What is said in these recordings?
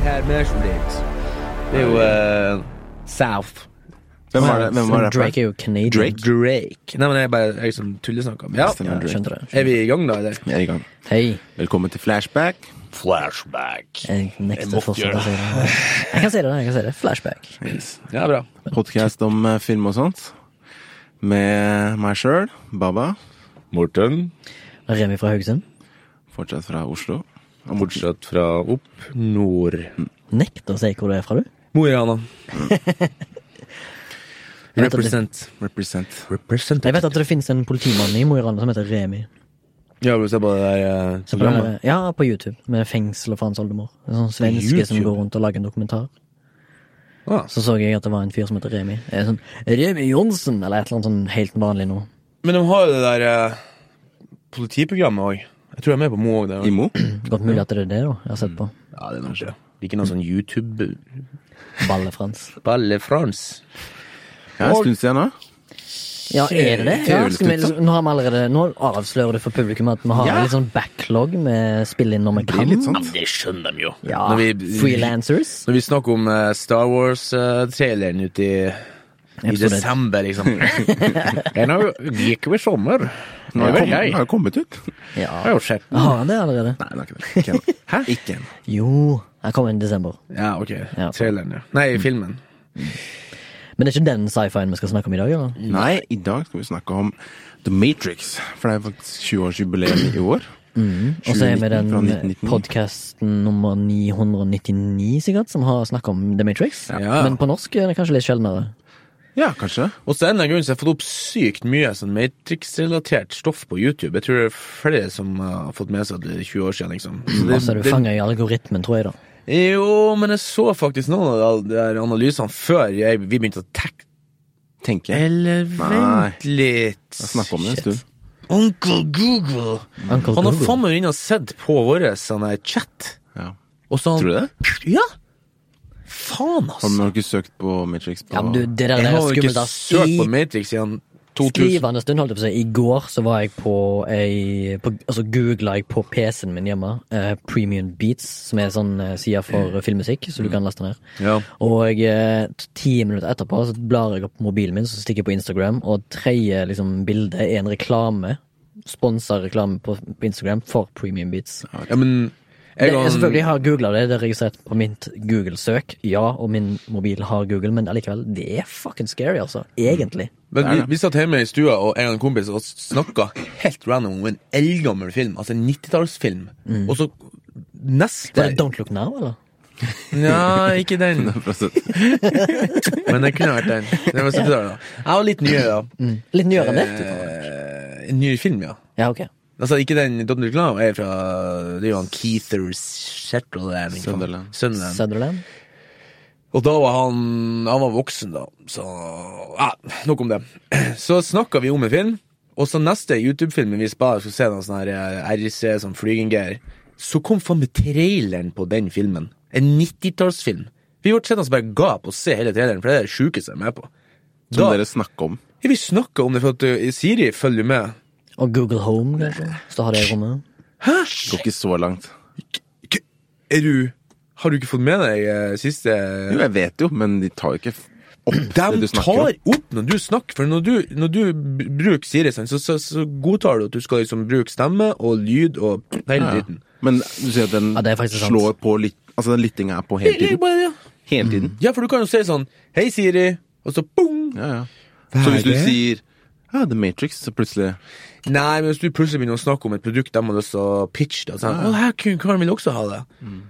Mercedes. Det er jo eh, South. Hvem var det? Hvem var rapperen? Drake er jo canadian. Drake? Drake. Nei, men jeg bare jeg liksom tullesnakker om. Ja, Ja, skjønte det. er vi i gang, da? Eller? Vi er i gang. Hei. Velkommen til Flashback. Flashback. Jeg nekter måtte fortsatt gjøre å si det. Jeg kan si det, jeg kan si det. Flashback. Ja, bra. Podcast om eh, film og sånt. Med meg sjøl, Baba. Morten, Remi fra Haugesund. Fortsatt fra Oslo. Og Morten. fortsatt fra opp nord. Nekter å si hvor du er fra, du. Mo i Rana. Jeg vet at det- Represent. Represent. Represent. Jeg vet at det finnes en politimann i Mo i Rana som heter Remi. Ja, vil du se på det der eh, Som programmet? er, ja, på YouTube. Med fengsel og faens oldemor. En sånn svenske som YouTube? går rundt og lager en dokumentar. Ah. Så så jeg at det var en fyr som heter Remi. Eh, Sånn, Remi Johnsen, eller et eller annet sånn helt vanlig nå. Men de har jo det der eh, politiprogrammet òg. Jeg tror jeg er med på Mo òg. Imo. Godt mulig at det er det, da. Jeg har sett på. Ja, det er noe skjer. Ikke noe sånn YouTube-balle Mm. Balle-Frans. France. Ja, en stund siden nå. Ja, er det det? Ja, skal vi, nå, har vi allerede, nå avslører du for publikum at vi har Ja. litt sånn backlog med spill inn når vi Det kan. er litt sånn. sånt. Det skjønner de jo. Ja, sånn- Når vi- freelancers. Når vi snakker om eh, Star Wars-traileren ute i, i Episode. desember, liksom. Den har jo- gikk over sommer. Nå Det har det vet kommet, jeg. nå har det kommet ut. Ja. Har jo skjedd. Har han det allerede? Nei, det er ikke det. Ikke ennå. Hæ? Ikke ennå. Jo, han kommer inn i desember. Ja, Mm. ok. Ja. Traileren, ja. Nei, filmen. Men det er ikke den sci-fien vi skal snakke om i dag, eller? Nei, i dag skal vi snakke om The Matrix. For det er faktisk 20-årsjubileum i år. Og så er 2019 vi fra den 1999. podkasten nummer 999, sikkert, som har snakka om The Matrix. Ja. Men på norsk er det kanskje litt sjeldnere. Ja, kanskje. Og så er det en eller annen grunn så har jeg fått opp sykt mye sånn Matrix-relatert stoff på YouTube. Jeg tror det er flere som eh, har fått med seg at det er 20 år siden, liksom. Så Og så er Altså, du fanga i algoritmen, tror jeg, da. jo, men jeg så faktisk noen av de der analysene før jeg, vi begynte å tekke. Tenker jeg. Eller Nei. vent litt. Jeg snakket om det en Shit. stund. Onkel Google. Uncle Han har Google. faen meg vært inne og sett på vår sånn her chat. Ja. Og så han, Tror du det? Ja! Faen, ass. Har du nok ikke søkt på Matrix på Ja, men du, det der, Jeg har der er jo skummelt, ikke ass. søkt på I Matrix siden 2000. skrivende stund, holdt jeg på å si. I går så var jeg på ei på, Altså googla jeg på PC-en min hjemme. eh, Premium Beats, som er en sånn eh, side for filmmusikk, så du kan laste ned. Ja. Og eh, t- ti minutter etterpå så blar jeg opp mobilen min, så stikker jeg på Instagram, og tredje liksom, bilde er en reklame. Sponsa reklame på, på Instagram for Premium Beats. ja, men Det, og jeg han- selvfølgelig har googla det, det er registrert på mitt Google-søk. Ja, og min mobil har Google, men allikevel, det er fucking scary, altså. Egentlig. Men vi, vi satt hjemme i stua og en gang en kompis og snakka helt random om en eldgammel film, altså en 90-tallsfilm, og så Var neste Mm. det Don't Look Now, eller? Nja, ikke den, sånn. men den kunne vært den. Den var 70-tallet, da. Jeg var litt nyere, da. Litt nyere enn det? Eh, en ny film, ja. Ja, ok. Altså, ikke den Don Luclano er fra Det er jo han Keither Shetland. ikke sant? Sunderland. Sunderland. Sutherland? Og da var han Han var voksen, da. Så ja, Nok om det. Så snakka vi om en film, og så neste YouTube-filmen vi bare skulle se, noen sånne her eh, RC, sånn flygengreier, så kom faen meg traileren på den filmen. En 90-tallsfilm. Vi ble sittende og bare gap og se hele traileren, for det er det sjukeste jeg er med på. Som Da, dere snakker om. Vi snakka om det, for at eh, Siri følger med. Og Google Home, kanskje? Så har det i rommet. Går ikke så langt. K- Er du Har du ikke fått med deg eh, siste Jo, jeg vet jo, men de tar jo ikke f- opp det De du snakker tar om. opp når du snakker, for når du, når du b- bruker Siri, sant, så, så, så godtar du at du skal liksom bruke stemme og lyd og hele Ja, ja. dritten. Men du sier at den Ja, det er faktisk sant. slår på lytt... Altså, den lyttinga er på hele tiden. Hele tiden. Ja, for du kan jo si sånn Hei, Siri, og så bong! Ja, ja. Så hvis du det? sier ja, The Matrix, så plutselig Nei, men hvis du plutselig begynner å snakke om et produkt de har lyst til å pitche det, sånn, «Å, her kunne Karen vil også ha det.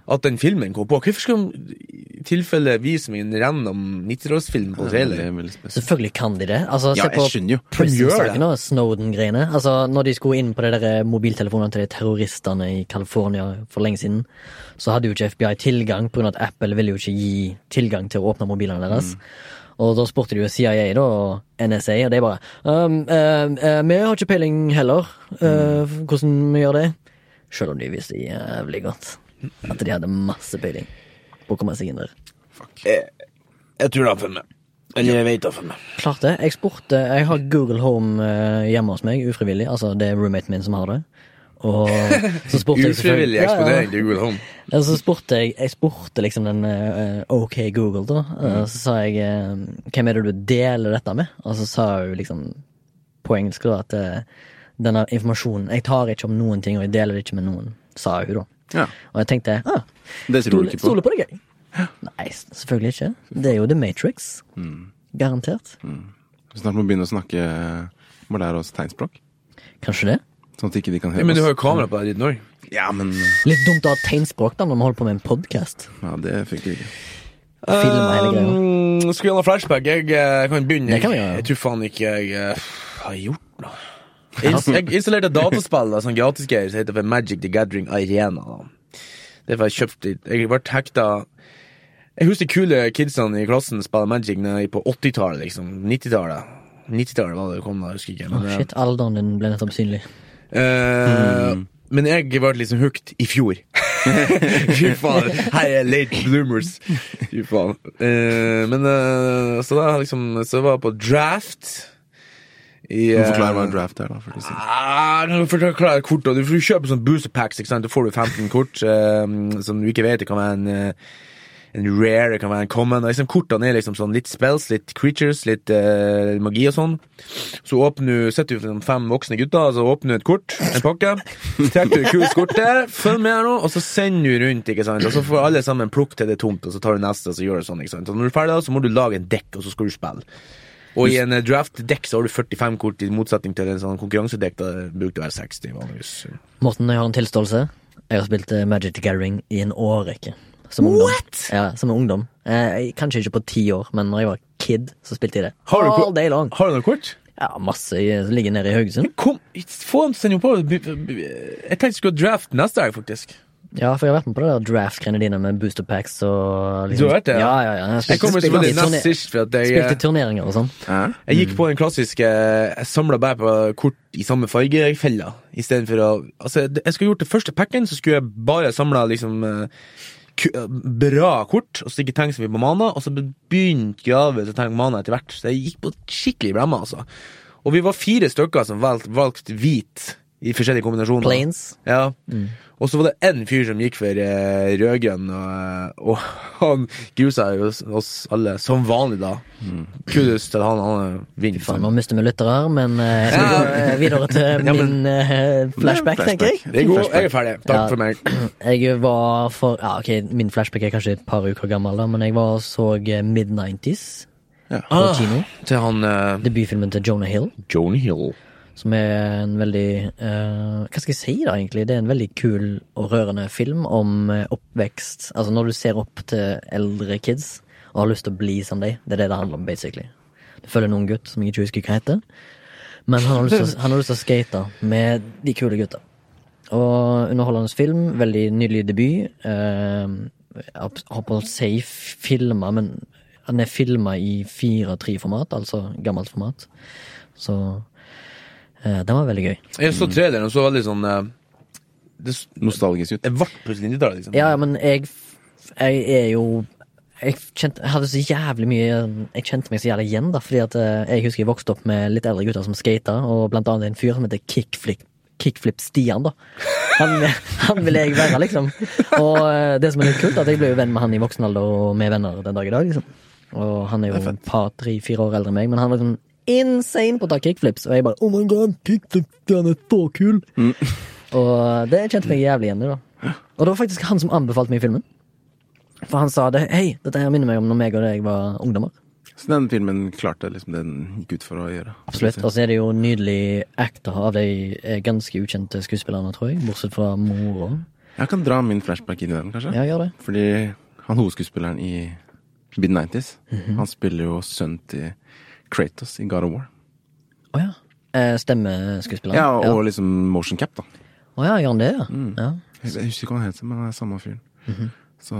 At den filmen kom på. Hvorfor skal de i tilfelle vise meg en random 90-tallsfilm på Det trailer? er veldig spesielt. Selvfølgelig kan de det. Altså, Ja, se jeg på skjønner jo. De gjør det. Prison-saken og Snowden-greiene. Altså, når de skulle inn på det der eh, mobiltelefonene til de terroristene i California for lenge siden, så hadde jo ikke FBI tilgang, på grunn av at Apple ville jo ikke gi tilgang til å åpne mobilene Mm. deres. Og da spurte de jo CIA da, og NSA, og de bare um, eh, eh, Vi har ikke peiling heller, eh, Mm. hvordan vi gjør det. Selv om de visste jævlig godt at de hadde masse peiling på å komme seg inn der. eh, Jeg tror det er for meg. Eller jeg vet det er for meg. Klart det. Jeg spurte Jeg har Google Home eh, hjemme hos meg, ufrivillig. Altså, det er roommaten min som har det. Og så spurte jeg selvfølgelig- Ufrivillig Ja, ja. eksponering til Google Home. Ja, så spurte jeg, jeg spurte liksom den eh, OK Google, da. Mm. Eh, så sa jeg eh, hvem er det du deler dette med? Og så sa hun liksom på engelsk da at eh, denne informasjonen Jeg tar ikke om noen ting, og jeg deler det ikke med noen, sa hun da. Ja. Og jeg tenkte ah, Det tror du stole, ikke på. stole på deg, jeg. Nei, s- selvfølgelig ikke. Det er jo The Matrix. Mm. Garantert. Snart må vi begynne å snakke eh, Må lære oss tegnspråk. Kanskje det. Sånn at ikke de kan Ja, høre men du har oss. jo kamera på deg ditt nå. Ja, men Litt dumt å ha tegnspråk da når vi holder på med en podkast. Ja, det funker ikke. Film og hele greia. Um, skal vi ha flashback? Jeg eh, kan begynne. Det kan vi jeg, gjøre. jeg tror faen ikke jeg eh, har gjort noe. Jeg, ins- jeg installerte et dataspill da, sånn gratisgreier som heter for Magic the Gathering Arena. Da. Det var jeg kjøpt i Jeg ble hekta Jeg husker de kule kidsene i klassen spille Magic nede på 80-tallet, liksom. 90-tallet. 90-tallet var det det kom da, jeg husker ikke. Men, Å, eh, Shit, alderen din ble nettopp synlig. Eh, Men jeg ble liksom hooked i fjor. Fy faen. Her er late bloomers. Fy faen. Eh, men eh, så da liksom Så var jeg på draft. I, Du må forklare hva eh, en draft er, da. før du sier det. Ah, kan du forklare kort, da? Du, får- du kjøper sånn booster packs, ikke sant? Da får du 15 kort eh, som du ikke vet. Det kan være en, eh, en rare, det kan være en common. og Liksom, kortene er liksom sånn litt spells, litt creatures, litt eh, magi og sånn. Så åpner du, setter du sånn fem voksne gutter, og så åpner du et kort, en pakke. Trekker du kult kort der, følg med her nå, og så sender du rundt, ikke sant? Og så får alle sammen plukk til det er tomt, og så tar du neste, og så gjør du sånn, ikke sant? Og når du er ferdig, da, så må du lage en dekk, og så skal du spille. Og i en eh, draft-dekk så har du 45 kort, i motsetning til en sånn konkurransedekk der det bruker å være 60 vanligvis. Morten, jeg har en tilståelse. Jeg har spilt eh, Magic the Gathering i en årrekke. Som ungdom. What? Ja, som ungdom. Eh, jeg- kanskje ikke på ti år, men når jeg var kid, så spilte jeg det. Har du ko- All day long. Har du noe kort? Ja, masse jeg ligger nede i Haugesund. Kom, få en sending på. Jeg tenkte jeg skulle draft neste helg, faktisk. Ja, for jeg har vært med på det der draft-greiene dine med booster packs og Du liksom- har vært det, ja? Ja, ja, ja. Jeg Jeg spilte, kommer spilte, selvfølgelig i turne- nest sist, for at jeg sånn- eh, spilte i turneringer og sånn. Hæ? Jeg gikk på den klassiske Jeg samla bare på kort i samme fargefella. Istedenfor å Altså, det- jeg skulle gjort det første packen, så skulle jeg bare samla liksom eh, ku- eh, bra kort, og så ikke tenke så mye på mana, og så begynte gravet å tenke mana etter hvert. Så jeg gikk på skikkelig blemma, altså. Og vi var fire stykker som valgte valgt hvit i forskjellige kombinasjoner. Planes. Ja. Mm. Og så var det én fyr som gikk for eh, rødgrønn, og, og han grusa jo oss- oss alle, som vanlig, da. Kudos til han, han eh, vinner. Faen, nå mister vi lyttere her, men eh, jeg skal Ja. gå eh, videre til Ja, men- min eh, flashback, Ja, flashback. tenker jeg. Det er god, jeg er ferdig. Takk Ja. for meg. Jeg var for Ja, ok, min flashback er kanskje et par uker gammel, da, men jeg var og så eh, Mid-90s på Ah. kino. Til han eh, Debutfilmen til Jonah Hill, Joan Hill. som er en veldig eh, Hva skal jeg si, da, egentlig? Det er en veldig kul og rørende film om eh, oppvekst. Altså, når du ser opp til eldre kids og har lyst til å bli som dem. Det er det det handler om, basically. Du følger en ung gutt som jeg ikke husker hva heter, men han har lyst til å, han har lyst til å skate med de kule gutta. Og underholdende film. Veldig nydelig debut. Eh, jeg har på å si filma, men han er filma i 4-3-format, altså gammelt format. Så eh, den var veldig gøy. Jeg så traileren og så veldig sånn eh, Det s- Nostalgisk ut. det ble plutselig 90-tallet, liksom. Ja, ja, men jeg, jeg er jo jeg, kjente, jeg hadde så jævlig mye Jeg kjente meg så jævlig igjen, da. Fordi at eh, jeg husker jeg vokste opp med litt eldre gutter som skata, og blant annet en fyr som heter Kickflip. Kickflip Stian, da. Han, han ville jeg være, liksom. Og eh, det som er litt kult, er at jeg ble jo venn med han i voksen alder, og vi er venner den dag i dag, liksom. Og han er jo et par, tre, fire år eldre enn meg, men han var sånn insane på å ta kickflips, og jeg bare Oh my god, kickflip, han er så kul! Og det kjente meg jævlig igjen i, da. Og det var faktisk han som anbefalte meg filmen. For han sa det, hei, dette her minner meg om når meg og deg var ungdommer. Så den filmen klarte liksom det den gikk ut for å gjøre. Absolutt. Og så er det jo nydelig acta av de eh, ganske ukjente skuespillerne, tror jeg. Bortsett fra mora. Jeg kan dra min flashback inn i den, kanskje. Ja, gjør det. Fordi han hovedskuespilleren i Mid-90s, han spiller jo sønnen til Kratos i God of War. Å ja. Eh, Stemmeskuespilleren. Ja, og Mm. ja. liksom motion cap, da. Å ja, gjør han det, ja. ja. Jeg jeg husker ikke hva han heter, men han er samme fyren. Så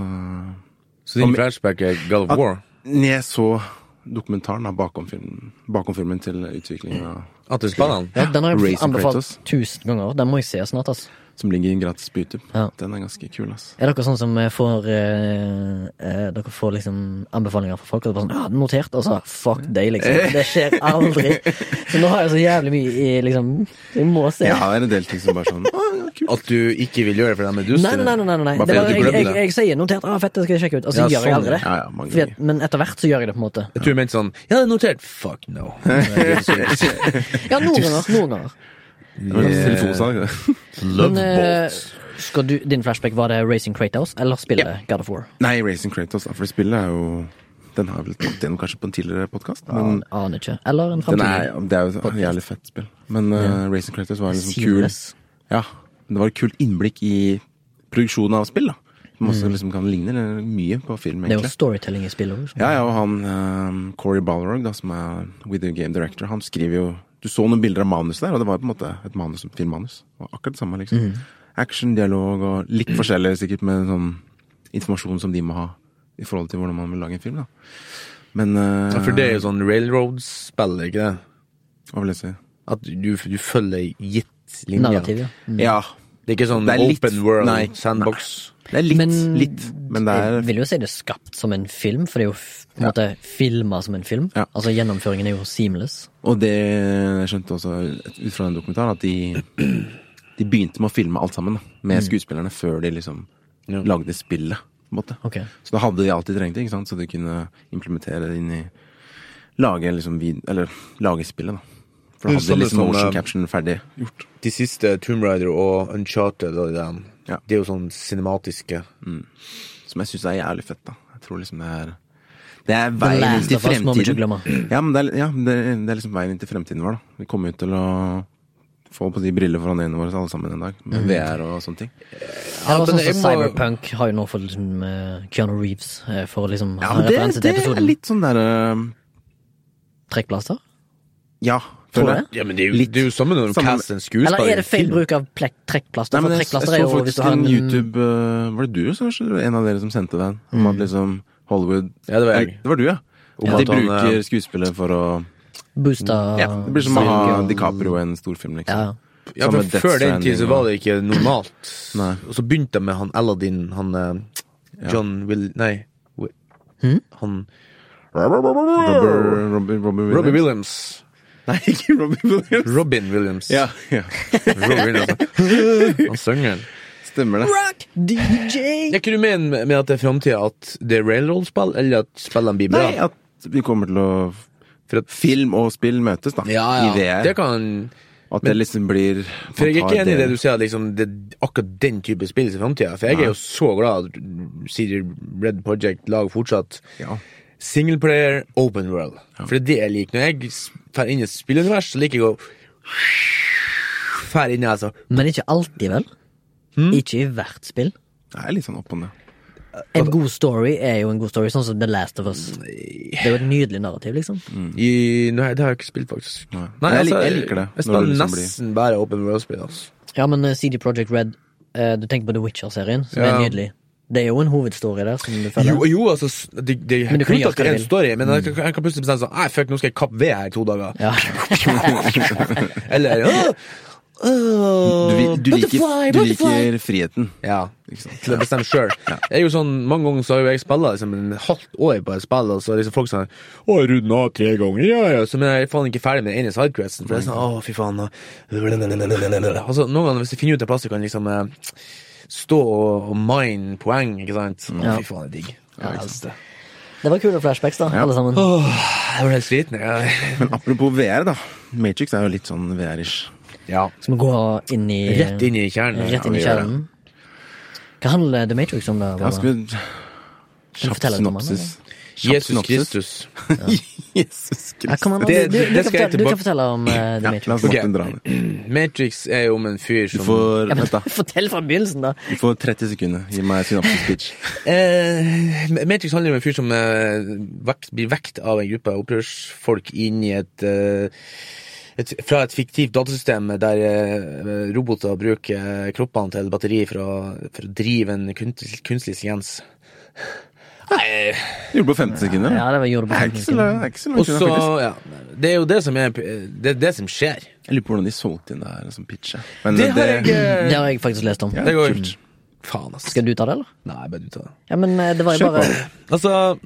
Så din flashback er God of War? Jeg så dokumentaren da, bakom filmen, bakom filmen til utviklingen av At du spanner han? Ja, den har jeg Raising anbefalt Kratos. tusen ganger. Den må jeg se snart, ass. Som ligger gratis på YouTube. Ja. Den er ganske kul, ass. Er dere sånn som eh, får eh, eh, Dere får liksom anbefalinger fra folk, og det er bare sånn Ja, notert, og så fuck deg, liksom. Det skjer aldri. Så nå har jeg så jævlig mye i liksom Jeg må se. Jeg har en del ting som bare sånn Å, ja, kult. At du ikke vil gjøre det for dem er dus? Nei, nei, nei. nei, nei. Bare fordi at Det er bare, du jeg, glemmer jeg, det. jeg sier notert. Ah, fett, det skal jeg sjekke ut. Og så Ja, gjør jeg sånn, aldri det. Ja, ja, mange Fordi at, ganger. men etter hvert så gjør jeg det, på en måte. Jeg tror jeg mente sånn Ja, det er notert. Fuck no. Love Ja, noen ganger. Noen ganger. Det var en telefonsalg, det. Men eh, balls. skal du, din flashback, var det Racing Kratos eller spillet God of War? Nei, Racing Kratos, da, for spillet er jo Den har jeg vel tatt gjennom kanskje på en tidligere podkast, men Aner ikke. Eller en Mm. den er, framtidig. det er jo et jævlig fett spill. Men eh, Racing Kratos var liksom kul. Seamless. Ja, men det var et kult innblikk i produksjonen av spill, da. Som også Mm. liksom kan ligne mye på film, Det er jo egentlig. storytelling i spillet også. Ja, ja, og han eh, Corey Balrog, da, som er Video Game Director, han skriver jo Du så noen bilder av manuset der, og det var på en måte et manus som filmmanus. Det var akkurat det samme, liksom. Mm. Action, dialog og litt forskjellig sikkert med sånn informasjon som de må ha i forhold til hvordan man vil lage en film, da. Men eh, Ja, for det er jo sånn railroad-spill, er det ikke det? Hva vil jeg si? At du, du følger ei gitt linje. Narrativ, ja. Ja. Det er ikke sånn Det er litt- open world, nei, sandbox. Det er litt, Men- litt, men det Jeg er vil jo si det er skapt som en film, for det er jo f- på en måte filma som en film. Ja. Altså gjennomføringen er jo seamless. Og det jeg skjønte også ut fra den dokumentaren, at de, de begynte med å filme alt sammen da, med Mm. skuespillerne før de liksom lagde spillet. på en måte. Ok. Så da hadde de alt de trengte, ikke sant? så de kunne implementere det inn i Lage liksom vid, eller lage spillet, da. For da Det er hadde samme de liksom som, motion eh, caption ferdig gjort. De siste Tomb Raider og Uncharted og de der, Ja. de er jo sånn cinematiske. Som jeg syns er jævlig fett, da. Jeg tror liksom det er Det er The veien inn Last til of Us må vi ikke fremtiden. glemme. Ja, men det er, ja, det, det er liksom veien inn til fremtiden vår, da. Vi kommer jo til å få på de briller foran øynene våre alle sammen en dag, Mhm. med VR og sånne ting. Ja, men sånn jeg som må- Cyberpunk har jo nå fått liksom, eh, Keanu Reeves eh, for å liksom Ja, ha men det, referanse det til er episoden litt sånn derre Trekkplaster? Ja, Tror føler jeg. jeg. Ja, men det er jo, Litt. det er jo samme når du Samme- caster en skuespiller. Eller i er det feil film. bruk av plek- trekkplaster? Nei, men For jeg, jeg så trekkplaster er jo hvis faktisk du har en en YouTube eh, Var det du som kanskje en av dere som sendte den? Om Mhm. at liksom Hollywood Ja, det var jeg. Nei, Det var du, ja. Om At at de han, bruker eh, skuespillere for å boosta Ja, det blir som å ha DiCaprio i en storfilm, Ja. liksom. Ja, Samme for Death Før den tid så Stranding var og- det ikke normalt. Nei. Og så begynte jeg med han Aladdin, han eh, John Will... Nei. Wi- Hmm? Han Robber, Robber, Robber Williams. Robbie Williams. Nei, ikke Robbie Williams. Robin Williams. Ja, ja. Robbie Williams. Han synger. Stemmer det. Rock DJ! Er ikke du med med at det er framtida at det er railroad-spill, eller at spillene blir bra? Nei, at vi kommer til å For at, Film og spill møtes, da. ja, I ja. VR. Det kan At det liksom blir For jeg er ikke enig i det du sier. sier, at liksom, det er akkurat den type spill i framtida. For jeg er jo så glad at CD Red Project lager fortsatt Ja. single player open world. For det er det jeg liker. Når jeg s- fer inn i et spillunivers, så liker jeg å fer inn i altså. Men ikke alltid, vel? Hmm? Ikke i hvert spill. Det er litt sånn opp og ned. En god story er jo en god story, sånn som The Last of Us. Det er jo et nydelig narrativ, liksom. I, nei, det har jeg ikke spilt, faktisk. Mm. altså, Nei. Jeg lik- jeg liker det, Jeg når spiller det liksom nesten bare open world-spill. Altså. Ja, men eh, CD Projekt Red, eh, du tenker på The Witcher-serien, som Ja. er nydelig. Det er jo en hovedstory der, som du føler. Jo, jo, altså s- Det, det Men er du kan kult gjøre at det er hva du en vil. story, men jeg kan, jeg kan plutselig bestemme sånn Nei, fuck, nå skal jeg kappe ved her i to dager. Ja. Eller «Åh, åh, Du, vil- du, liker, Oh, butterfly, du butterfly!» liker friheten, Ja, ikke sant. til å bestemme sjøl. Sånn, mange ganger så har jo jeg spilla liksom, en halvt år på et spill, og så er liksom folk sånn 'Å, jeg runda av tre ganger, ja, ja.' Så men jeg er faen ikke ferdig med den ene sidequesten. For det er sånn 'Å, fy faen'. og- Altså, noen ganger hvis jeg finner ut en plass, så kan jeg liksom eh, stå og, og mine poeng, ikke sant. Å, fy faen, det er digg. Jeg elsker det. Det var kule flashbacks, da, alle sammen. Jeg ble helt sliten. jeg. Men apropos VR, da. Matrix er jo litt sånn VR-ish. Ja. Skal vi gå inn i eh, Rett inn i kjernen. rett inn i vi gjør det. kjernen? Hva handler The Matrix om, da? Ja, Barbara? skal vi Kjapp fortelle litt om han, synopsis. Kjapp Jesus synopsis. Kristus. Jesus Ja, Kristus. kom an, du, Det- du, det du, kan skal jeg fortelle, du tilbake- kan fortelle om eh, The Ja, la oss Matrix. Ok. måtte dra det. Matrix er jo om en fyr Du som får, vent da. Fortell fra begynnelsen, da. Du får 30 sekunder. Gi meg synopsis-pitch. Eh, Matrix handler om en fyr som eh, vekt, blir vekt av en gruppe opprørsfolk inn i et, eh, et Fra et fiktivt datasystem der eh, roboter bruker kroppene til batteri for å, for å drive en kunst, kunstig intelligens. Nei, Du gjorde det på 15 sekunder. Ja, da. det var, gjorde det Det på er ikke så langt, det er ikke så langt Og unna, så, faktisk. ja, det er jo det som er Det er det som skjer. Jeg lurer på hvordan de solgte inn det her som pitchet. Men Det har jeg eh, Det har jeg faktisk lest om. Ja. Det går kult. Faen, ass. Skal du ta det, eller? Nei, bare du tar det. Ja, men eh, det var jo Kjør bare Altså,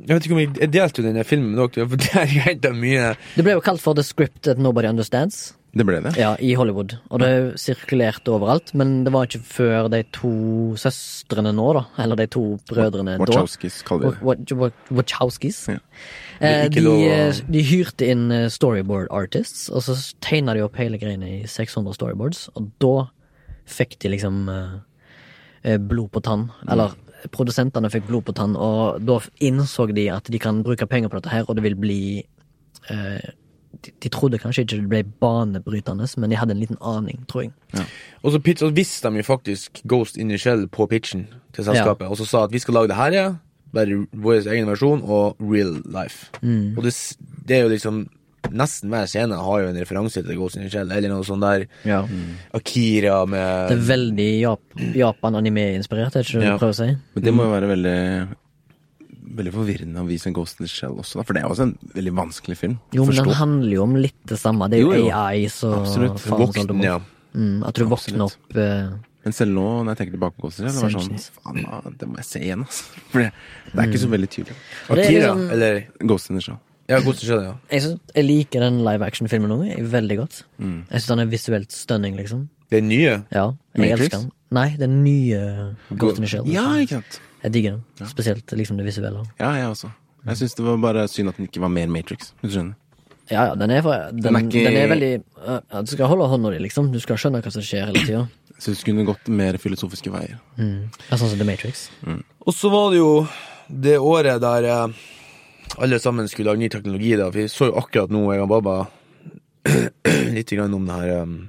jeg vet ikke om jeg, jeg delte jo denne filmen med dere, for der jeg hentet mye Det ble jo kalt for The Script That Nobody Understands Det ble det. Ja, i Hollywood. Og det sirkulerte overalt, men det var ikke før de to søstrene nå, da. Eller de to brødrene da. Wachowskis kaller vi det. Wa- wa- Wachowskis. Ja. Eh, Det er ikke De, lov å- eh, de hyrte inn eh, storyboard artists, og så tegna de opp hele greiene i 600 storyboards, og da fikk de liksom eh, eh, blod på tann. Mm. Eller produsentene fikk blod på tann, og da f- innså de at de kan bruke penger på dette her, og det vil bli eh, de, de trodde kanskje ikke det ble banebrytende, men de hadde en liten aning, tror jeg. Og så, pitch, og visste de jo faktisk Ghost in the Shell på pitchen til selskapet, og så sa at vi skal lage det her, ja. Bare vår egen versjon og real life. Mm. Og det, s- det er jo liksom Nesten hver scene har jo en referanse til Ghost in the Shell, eller noe sånn der Akira Det er med veldig Jap Japan-anime-inspirert, er det ikke det Ja. du prøver å si? Men det må jo være veldig Veldig forvirrende å vise en Ghost in the Shell også, da. For det er også en veldig vanskelig film. å Jo, men den forstå. handler jo om litt det samme. Det er jo, Jo, jo. AI, så Absolutt. faen, sånn du voksen, må- ja. Mm, at du våkner opp eh, Men selv nå, når jeg tenker tilbake på Ghost in the Shell, det var sånn Sanchez. Faen, ah, det må jeg se igjen, altså. For det, det er ikke så veldig tydelig. Og det er Akira, liksom- eller Ghost in the Shell. Ja, Ghost in the Shell, ja. jeg, synes, jeg liker den live action-filmen nå jeg- veldig godt. Mm. Jeg syns den er visuelt stunning, liksom. Den nye. Ja, jeg Matrix? elsker den. Nei, den nye Ghost in the Shell. liksom. Ja, ikke sant. Jeg digger den. Spesielt liksom det visuelle. Ja, jeg også. Jeg syns det var bare synd at den ikke var mer Matrix. Hvis du skjønner. Ja, ja, den er, for, den, den er er, ikke- veldig eh, ja, Du skal holde hånda di, liksom. Du skal skjønne hva som skjer hele tida. Jeg syns det kunne gått mer filosofiske veier. Ja, sånn som The Matrix. Og så var det jo det året der eh, alle sammen skulle lage ny teknologi. Da. Vi så jo akkurat nå, jeg og Baba, litt grann om det her eh,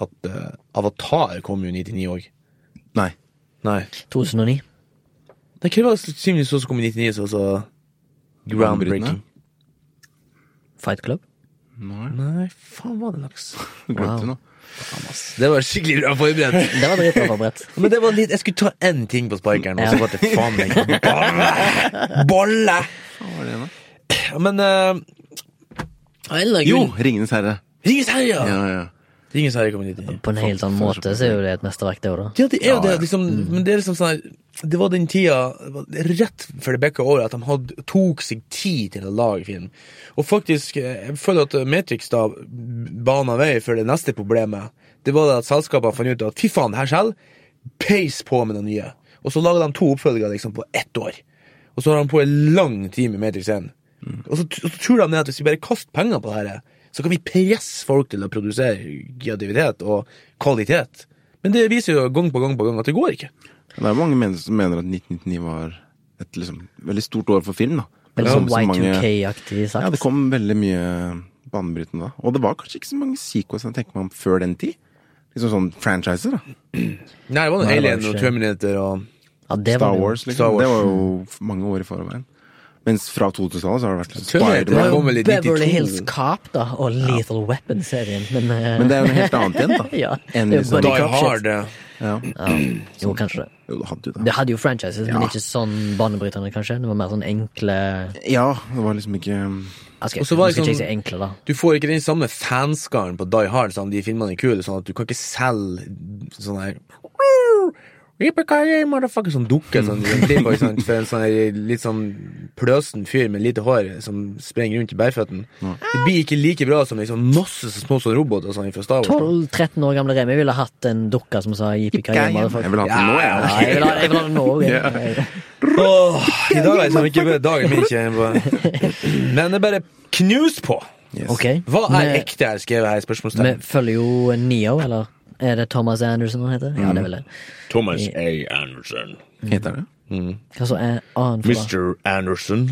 at eh, Avatar kom jo i 99 òg. Nei. Nei. 2009. Nei, Hva var det Simon så som kom i 99, så altså Groundbreaking? Fight Club. Nei. Nei, faen var det laks. Glemte du nå? Det var skikkelig bra forberedt. Det var dritbra forberedt. Men det var litt, jeg skulle ta én ting på sparkeren, og så ble det faen meg bolle! Bolle! Hva var det igjen, da? Men eh, Jo! Ringenes herre. Ringenes herre, ja! Ja, ja. Ringenes herre kom i 99. På en helt annen måte så er jo det et mesterverk, det òg, da. Ja, det er jo Ja, det, ja. Mm. liksom, men det er liksom sånn her Det var den tida, det var rett før det bikka over, at de hadde, tok seg tid til å lage film. Og faktisk, eh, jeg føler at Matrix da bana vei for det neste problemet. Det var det at selskapene fant ut at fy faen, det her selger. Peis på med det nye. Og så lager de to oppfølgere liksom på ett år. Og så har de på en lang tid med Matrix 1. Mm. Og, så, og så tror de det at hvis vi bare kaster penger på det her, så kan vi presse folk til å produsere kreativitet og kvalitet. Men det viser jo gang på gang på gang at det går ikke. Det er jo mange mennesker som mener at 1999 var et liksom, veldig stort år for film. da. Veldig Som- sånn som mange- Y2K-aktig sagt. Ja, det kom veldig mye banebrytende da. Og det var kanskje ikke så mange sequels jeg tenker meg om før den tid. Liksom sånn franchiser, da. Nei, det var noe Nei, det var Alien og ikke- Terminator og Ja, det Star var det jo. Wars, liksom. Star Wars. Det var jo f- mange år i forveien. Mens fra 2000-tallet så har det vært liksom Terminator Spider-Man. var jo- kom vel i 92. Beverly Hills Cop, da, og Lethal Weapon-serien, men, eh, Men det er jo noe helt annet igjen, da. Ja, Enn det er liksom, bare- da, Die Cop shit. Hard. eh. ja. ja, Jo, kanskje det. Jo, det hadde jo Det det. hadde jo franchises, sånn- Ja. men ikke sånn banebrytende, kanskje. Det var mer sånn enkle Ja, det var liksom ikke Jeg skal, Og så var nå skal det ikke sånn- si enkle, da. Du får ikke den samme fanskaren på Die Hard som de filmene er kule, sånn at du kan ikke selge sånn her Yippee-ki-yay, motherfucker, som dukker sånn i en playboy, sant, for en sånn her litt sånn pløsen fyr med lite hår som sprenger rundt i bærføtten. Det blir ikke like bra som liksom masse så små sånn roboter og sånn fra Star Wars. 12-13 år gamle Remi ville hatt en dukke som sa Jeg jippi-kai. vil ha den nå, Ja, Ja, jeg. jeg vil ha jeg vil ha det nå. jeg. Åh, I dag er liksom ikke dagen min, kjenner jeg på. Men det er bare knus på! Yes. Ok. Hva er Vi- ekte her, skrevet her, Vi spørsmålstegn. følger jo Neo, eller er det Thomas Anderson han heter? Ja, det er vel det. Mm. Thomas A. Anderson. Heter det Hva så er annen for da? Mr. Anderson.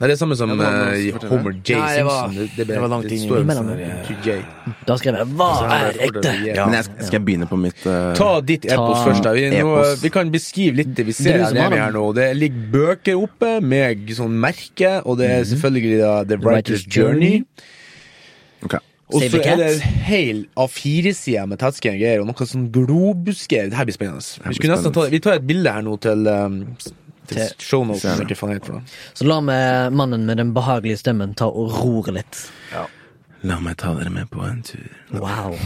Nei, det er samme som Ja, det var noe eh, som fortalte Homer J. Nei, det var- Simpson. Det, det var langt inn i står jo mellom. sånn her, eh, TJ. Da skrev jeg 'Hva Altså, er ekte?' Ja. Men jeg, skal- skal jeg begynne på mitt eh, Ta ditt epos først. da Vi, nå, eh, epos. vi kan beskrive litt det vi Det ser er du her, som har nede den. her nå. Det ligger bøker oppe med sånn merke, og det er selvfølgelig da The Writer's Writer's Journey. Journey. Ok. Og Save så the er cat. det en hel A4-side med tettskrevne greier og noe sånn globusgreier. Det her blir spennende. Vi, blir skulle nesten ta, spennende. vi tar et bilde her nå til, um, til shownotes, eller hva faen det heter for noe. Så la meg mannen med den behagelige stemmen ta og rore litt. La meg ta dere med på en tur. Wow.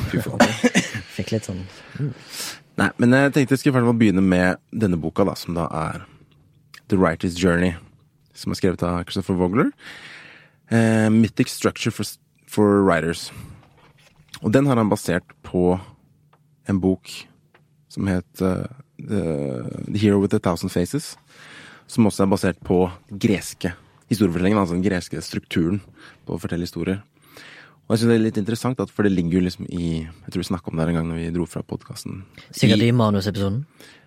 Fikk litt sånn Nei, men jeg tenkte jeg skulle i hvert fall begynne med denne boka, da, som da er The Writer's Journey, som er skrevet av Christopher Vogler. Eh, Mythic Structure for, for Writers. Og den har han basert på en bok som het eh, The, The Hero with a Thousand Faces, som også er basert på greske historiefortellingen, altså den greske strukturen på å fortelle historier. Og jeg synes det er litt interessant, at, for det ligger jo liksom i Jeg tror vi snakka om det her en gang når vi dro fra podkasten. Sikkert i manusepisoden,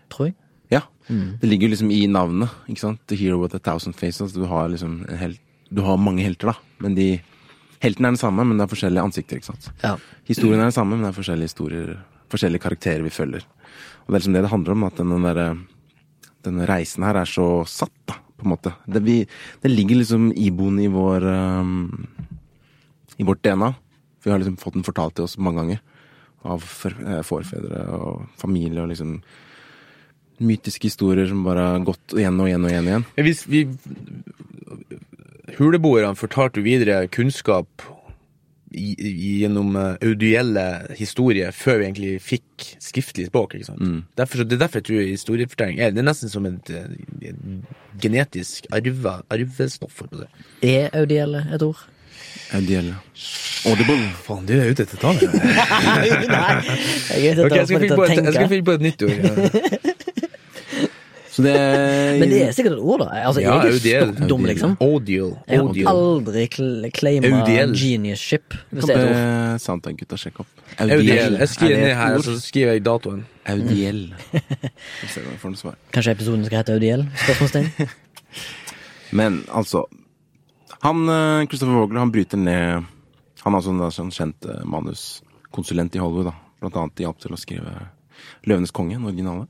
tror jeg. Ja. Det ligger liksom i navnet. ikke sant? The Hero with a Thousand Faces. Du har liksom en hel, du har mange helter, da. Men de Heltene er den samme, men det er forskjellige ansikter. ikke sant? Ja. Historien er den samme, men det er forskjellige historier, forskjellige karakterer vi følger. Og det er liksom det det handler om, at den den derre denne reisen her er så satt, da, på en måte. Det, vi, det ligger liksom iboende i vår ehm, i vårt DNA. Vi har liksom fått den fortalt til oss mange ganger. Av for, eh, forfedre og familie og liksom mytiske historier som bare har gått igjen og igjen og igjen. og igjen. Men Hvis vi Huleboerne fortalte jo videre kunnskap i, i- gjennom eh, audielle historier før vi egentlig fikk skriftlig språk. ikke sant? Derfor, så- det er derfor jeg tror historiefortelling er, det er nesten som et, eh, et genetisk arve, arvestoff. for å si det. Er audielle et ord? Ideelle. Audible. Faen, du er ute etter tallet. Nei! Jeg, er Ok, jeg skal sitter finne og på et, tenker. jeg skal finne på et nytt ord. Så det Men det er sikkert et ord, da. Altså, Ja, jeg er audiell. ikke stokk dum, liksom. Audial. Jeg har Audial. aldri cl claima Audiell. geniusship, hvis det er et ord. Be Soundtank-gutta sjekke opp. Audial. Jeg Er skriver det ned et her, altså. ord? og så skriver jeg datoen. Audiell. Vi ser om jeg får noe svar. Kanskje episoden skal hete Audiell? Spørsmålstegn. Men altså Han, eh, Christopher Vogler, han bryter ned Han er sånn, sånn kjent eh, manuskonsulent i Hollywood, da. Blant annet hjalp til å skrive 'Løvenes konge', den originale.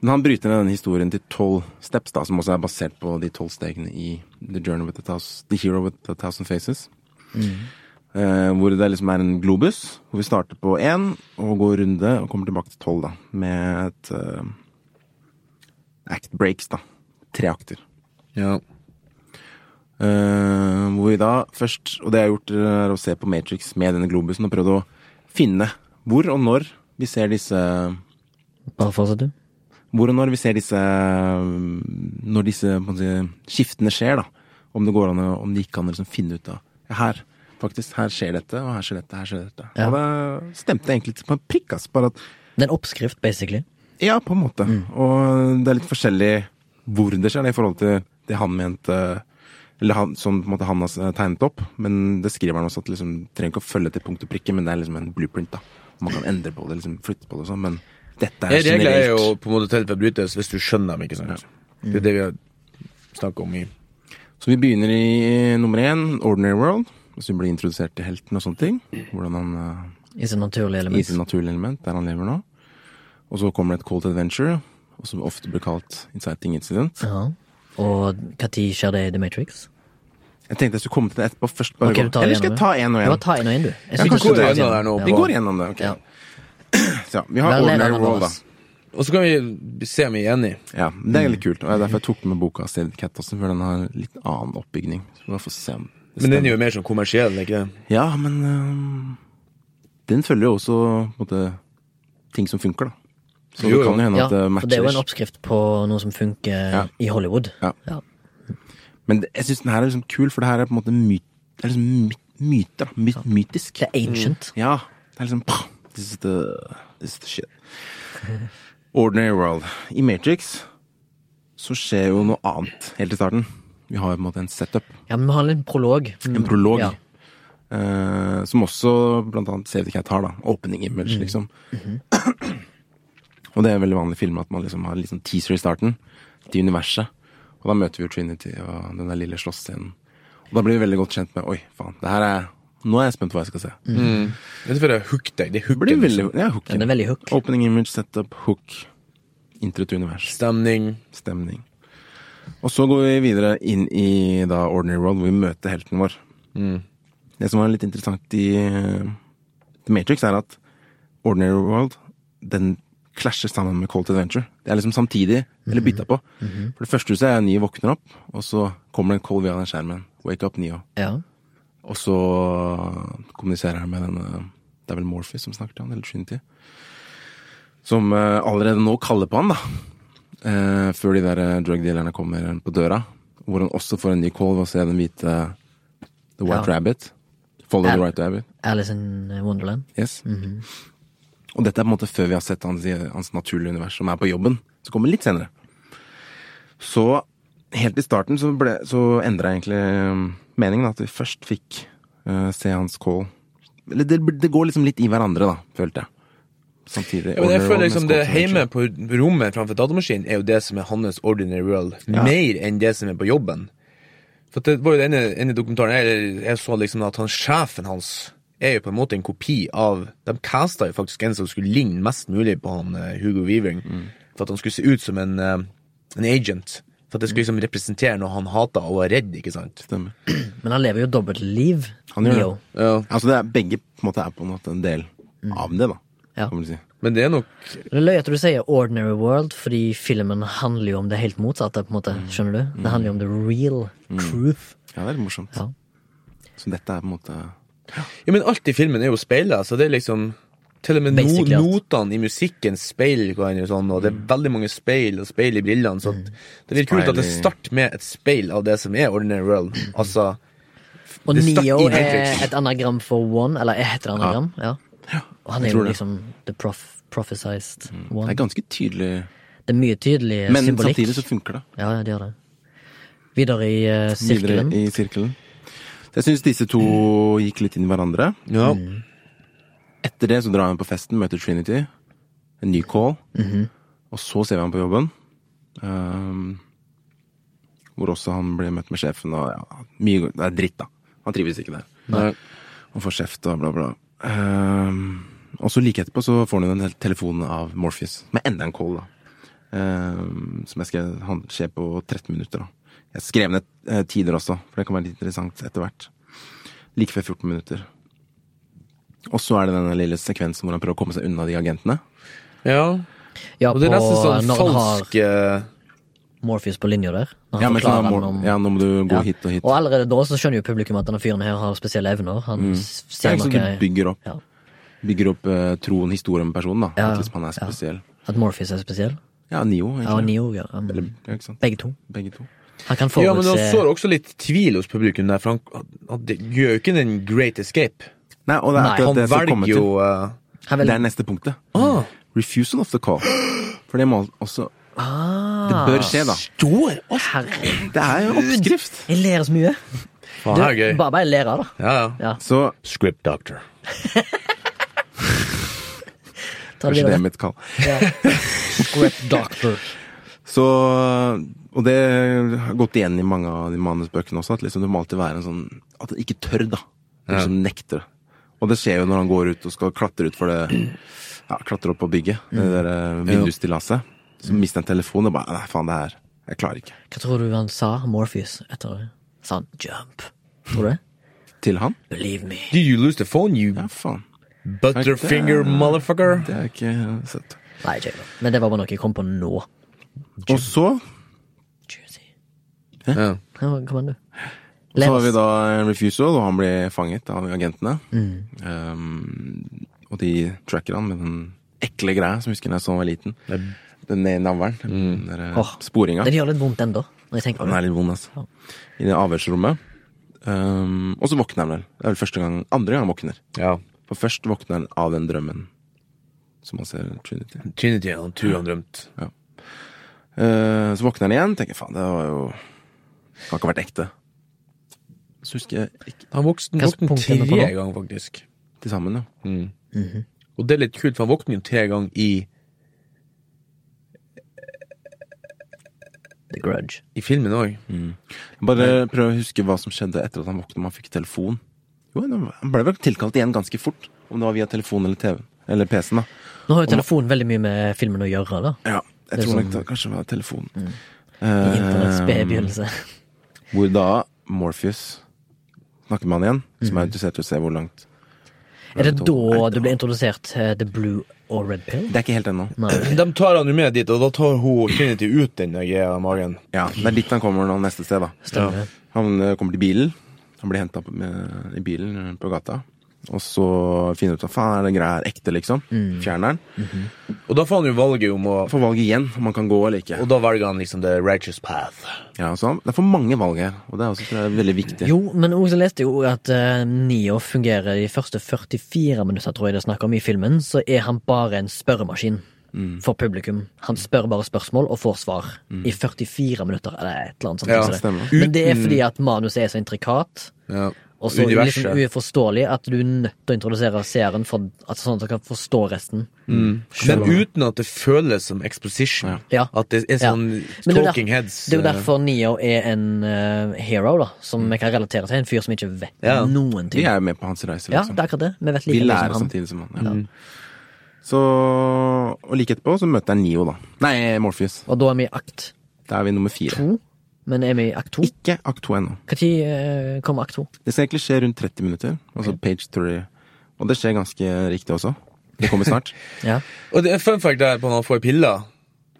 Men han bryter ned denne historien til tolv steps, da, som også er basert på de tolv stegene i The, Journey with a Thous- The Hero with a Thousand Faces. Eh, hvor det liksom er en globus, hvor vi starter på én og går runde og kommer tilbake til tolv, da. Med et eh, act breaks, da. Tre akter. Ja. Eh, hvor vi da først, og det jeg har gjort, eh, er å se på Matrix med denne globusen og prøvd å finne hvor og når vi ser disse Bare fortsett, du. Hvor og når vi ser disse mm, Når disse på en måte, skiftene skjer, da. Om det går an å- om det gikk an å liksom finne ut av ja, Her faktisk, her skjer dette, og her skjer dette, her skjer dette. Ja. Og det stemte egentlig til på en prikk, ass. Bare at Det er en oppskrift, basically. Ja, på en måte. Og det er litt forskjellig hvor det skjer, det i forhold til det han mente Eller han, som på en måte han har tegnet opp. Men det skriver han også, at liksom, trenger ikke å følge til punkt og prikke, men det er liksom en blueprint. da. Man kan endre på det, liksom flytte på det og sånn, men dette er Regler generelt. er jo på en måte til for å brytes hvis du skjønner dem, ikke sant. Det er det vi har snakket om i Så vi begynner i nummer én, Ordinary World. Og så blir vi introdusert til helten og sånne ting. Hvordan han eh, I sitt naturlige i element. sitt naturlige element, der han lever nå. Og så kommer det et Call to Adventure, og som ofte blir kalt Inciting Incident. Ja. Og når skjer det i The Matrix? Jeg tenkte jeg skulle komme til det etterpå. først bare Ok, gå. du tar Eller skal jeg ta én og Ja, én? ta en og en, du. Jeg synes kanskje du skal det er ta en en av og en. der nå. Ja. Vi går gjennom det. ok. Ja. Så, vi har Vær Ordinary levende, World, da. Anders. Og så kan vi se om vi er enige. Ja, Det er Mm. litt kult. og det er Derfor jeg tok med boka av Stedid Cat også, for den har litt annen oppbygning. Så vi får se om det Men den er stemmer. jo mer sånn kommersiell, ikke det? Ja, men øhm, den følger jo også på en måte, ting som funker, da. Så Jo, det jo. kan jo hende Ja, at det for det matcher. er jo en oppskrift på noe som funker Ja. i Hollywood. Ja. Ja. men det- jeg syns den her er liksom kul, for det her er på en måte my det er liksom my myter. da. My mytisk. Det er ancient. Ja. Det er liksom pah, This is the, this is the shit. Ordinary World. I Matrix så skjer jo noe annet helt i starten. Vi har på en måte en setup, Ja, men vi har en liten prolog. en prolog, Ja. eh, som også blant annet Save the Cat har, da. Opening image, Mhm. liksom. og det er veldig vanlig i filmer at man liksom har en liten teaser i starten til universet. Og da møter vi jo Trinity og den der lille slåssscenen. Og da blir vi veldig godt kjent med Oi, faen, det her er Nå er jeg spent på hva jeg skal se. Det er derfor jeg hooked deg. liksom. Det er Det blir hooket. veldig, ja, hooken. Mhm. liksom. Den er veldig hook. Opening image, setup, hook. Intro til univers. Stemning. Stemning. Og så går vi videre inn i da Ordinary World, hvor vi møter helten vår. Det som var litt interessant i eh, The Matrix, er at Ordinary World, den clasher sammen med Cold Adventure. Det er liksom samtidig, eller bytta på. For det første huset er Neo våkner opp, og så kommer det en call via den skjermen. Wake up, Neo. Ja. Og så kommuniserer han med den eh, Det er vel Morphy som snakker til han, eller Trinity. Som eh, allerede nå kaller på han, da. Eh, før de der eh, drug dealerne kommer på døra. Hvor han også får en ny call ved å se den hvite eh, The White Ja. Rabbit. Follow Ja. the White Rabbit. Alice in Wonderland. Yes. Mhm. Og dette er på en måte før vi har sett hans, hans naturlige univers, som er på jobben. Så kommer litt senere. Så helt i starten så, ble- så endra egentlig um, meningen da, at vi først fikk uh, se hans call. Eller det, det går liksom litt i hverandre, da, følte jeg. Samtidig. Ja, men jeg Ordinary føler World liksom med det Scott Adventure. hjemme på rommet framfor datamaskinen er jo det som er hans ordinary world, mer enn det som er på jobben. For det var jo den ene- ene dokumentaren jeg, jeg så liksom at han, sjefen hans er jo på en måte en kopi av De casta jo faktisk en som skulle ligne mest mulig på han eh, Hugo Weaving, for at han skulle se ut som en, eh, en agent. For at det skulle liksom representere noe han hata og var redd, ikke sant? Stemmer. Men han lever jo dobbeltliv. Han gjør det. Neo. Ja, Altså det er, begge på en måte er på en måte en del av det, da. Mm. Ja. Kan man si. men det er nok Det er løy at du sier Ordinary World, fordi filmen handler jo om det helt motsatte. på en Mm. måte, skjønner du? Det handler jo om the real truth. Ja, det er litt morsomt. Ja. Så dette er på en måte Ja, men alt i filmen er jo speila, så det er liksom Til og med no Basically alt. Mm. notene i musikken speiler hverandre, og sånn, og det er veldig mange speil og speil i brillene, så at det virker kult at det Speil i- starter med et speil av det som er Ordinary World. Altså Og Det stakk Neo i er Matrix. et anagram for One, eller er et anagram. Ja. Og han jeg er jo tror det. liksom the prof prophesized Det One. er ganske tydelig, Det er mye tydelig men symbolikk. samtidig så funker det. Ja, ja, det gjør det. Videre i eh, videre sirkelen. i sirkelen. Så jeg syns disse to gikk litt inn i hverandre. Mm. Ja. Etter det så drar han på festen, møter Trinity. En ny call. Og så ser vi han på jobben. Ehm, hvor også han blir møtt med sjefen og ja, mye Det er dritt, da. Han trives ikke der. Nei. Og får kjeft og bla, bla. Ehm, og så like etterpå så får han jo en telefon av Morpheus med enda en call, da. Ehm, som jeg skrev Han skjer på 13 minutter, da. Jeg skrev ned eh, tider også, for det kan være litt interessant etter hvert. Like før 14 minutter. Og så er det denne lille sekvensen hvor han prøver å komme seg unna de agentene. ja. Ja, Og det er nesten på- sånn når han har falsk eh, Morpheus på linja der. Når han Ja, men sånn, forklarer må, han om ja, nå må du gå Ja. hit og hit. Og allerede da så skjønner jo publikum at denne fyren her har spesielle evner. Han s- Det ser er liksom du noe bygger opp, Ja. bygger opp eh, troen, historien med personen, da. Ja, At liksom han er ja. spesiell. At Morpheus er spesiell. Ja, Nio, Ja, og egentlig. Neo ja. um, Eller, ja, ikke sant? Begge to. Begge to. Han kan Ja, men han sår forutse også litt tvil hos publikum der, for han, han det gjør jo ikke den great escape. Nei, og det er Nei, akkurat Han det jeg skal komme velger til. jo eh, han vel, Det er neste punktet. Ah. Refusal of the call. For det må også Det Ah. bør skje, da. Stor! Å, Ah, herre Det er jo oppskrift. Jeg ler så mye. Faen, det er gøy. Bare bare ler av det. Ja, ja. Ja, Så Script doctor. ta det Kanskje det er videre. mitt kall. Script doctor. Så Og det har gått igjen i mange av de manusbøkene også, at liksom det må alltid være en sånn At det ikke tør, da. Det Liksom nekter. Og det skjer jo når han går ut og skal klatre ut for det Ja, klatre opp på bygget, det der eh, vindusstillaset. Så mister han telefonen og bare Nei, faen, det her Jeg klarer ikke. Hva tror du han sa, Morpheus, etter det? Sa han jump? Tror du det? Til han? Believe me. Did you lose the phone, you Ja, faen. butterfinger motherfucker? Det har jeg ikke eh, sett. Nei, ikke jeg da. Men det var bare noe jeg kom på nå. Og så Juicy. Ja. Ja, kom an, du. Så Ler har vi oss. da en refusal, og han blir fanget av agentene. Um, og de tracker han med den ekle greia som jeg husker da jeg så han var liten. Den ned i navlen. Den der eh, Åh. sporinga. Den gjør litt vondt ennå, når jeg tenker Den på er det. litt vond, altså. I det avhørsrommet. Um, og så våkner han vel. Det er vel første gang, andre gang han våkner. ja. For først våkner han av den drømmen som han ser Trinity. Trinity, han tror han drømte. Eh, så våkner han igjen, tenker faen, det var jo Kan ikke ha vært ekte. Så husker jeg ikke Han vokste Hva vokste punkt er det på tre nå? ganger, faktisk. Mm. til sammen, ja. Og det er litt kult, for han våkner jo tre ganger i, The Grudge. i filmen òg. Bare prøv å huske hva som skjedde etter at han våknet om han fikk telefon. Jo, Han ble vel tilkalt igjen ganske fort, om det var via telefon eller TV. Eller PC-en, da. Nå har jo telefonen veldig mye med filmen å gjøre, da. Ja, jeg Det er tror sånn- nok det Mm. kanskje var telefon. I internetts spede Eh, begynnelse. Mm. hvor da Morpheus snakker med han igjen, som er interessert i å se hvor langt Er Red det Pill. da Nei, det ble introdusert eh, The Blue og Red Pill? Det er ikke helt ennå. Mm. De tar han jo med dit, og da tar hun Trinity ut den og gir han magen. Ja, det er dit han kommer nå neste sted, da. Stemmer. Han eh, kommer til bilen. Han blir henta i bilen eh, på gata. Og så finner han ut at faen, er den greia her ekte, liksom? Fjerner den. Og da får han jo valget om å Han får valget igjen om han kan gå eller ikke. Og da velger han liksom the righteous path. Ja, så han, det er for mange valg her, og det er også tror jeg, veldig viktig. Jo, men også leste jeg jo at eh, Neo fungerer de første 44 minutter, tror jeg det er snakk om, i filmen. Så er han bare en spørremaskin Mm. for publikum. Han spør bare spørsmål og får svar i 44 minutter, eller et eller annet sånt. Ja, som det. stemmer. Men det er fordi at manuset er så intrikat. Ja. Og så Universet. liksom uforståelig at du er nødt til å introdusere seeren for at sånn at dere kan forstå resten. Men uten at det føles som exposition. Ja. At det er Ja. sånn Men det er jo talking der- heads. Det er jo eh, Mm. derfor Neo er en eh, hero, da, som vi kan relatere til. En fyr som ikke vet Ja. noen Vi ting. er jo med på hans reise, Ja, liksom. det er akkurat det. Vi vet Vi like mye lærer som han. Mm. samtidig som han. Ja. Så, og like etterpå så møter han Neo, da. Nei, Morpheus. Og da er vi i akt Da er vi nummer fire. to. Men er vi i akt to? Ikke akt to ennå. Når uh, kommer akt to? Det skal egentlig skje rundt 30 minutter. Altså page 30. Og det skjer ganske riktig også. Det kommer snart. Ja. Og det er fun fact der på når han får piller.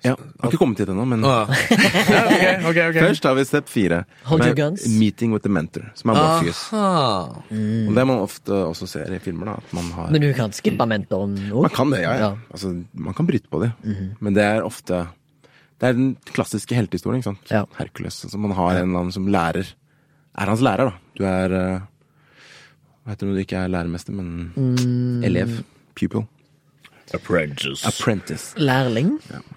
Ah. ja, har ikke kommet hit ennå, men Å, ja. ja, ok, ok, ok. først har vi step fire. Hold med your guns. Ah. Meeting with the mentor, som er Morpheus. Aha. Og Mm. det man ofte også ser i filmer, da. At man har Men du kan skippe mentoren òg? Man kan det, ja. ja. Ja. Mhm. Altså, man kan bryte på det. Men det er ofte Det er den klassiske heltehistorien. ikke sant? Ja. Hercules. Altså, man har en eller annen som lærer Er hans lærer, da. Du er eh, Hva heter det når du ikke er læremester, men Mm. elev? Pupil? Apprentice. Apprentice. Lærling?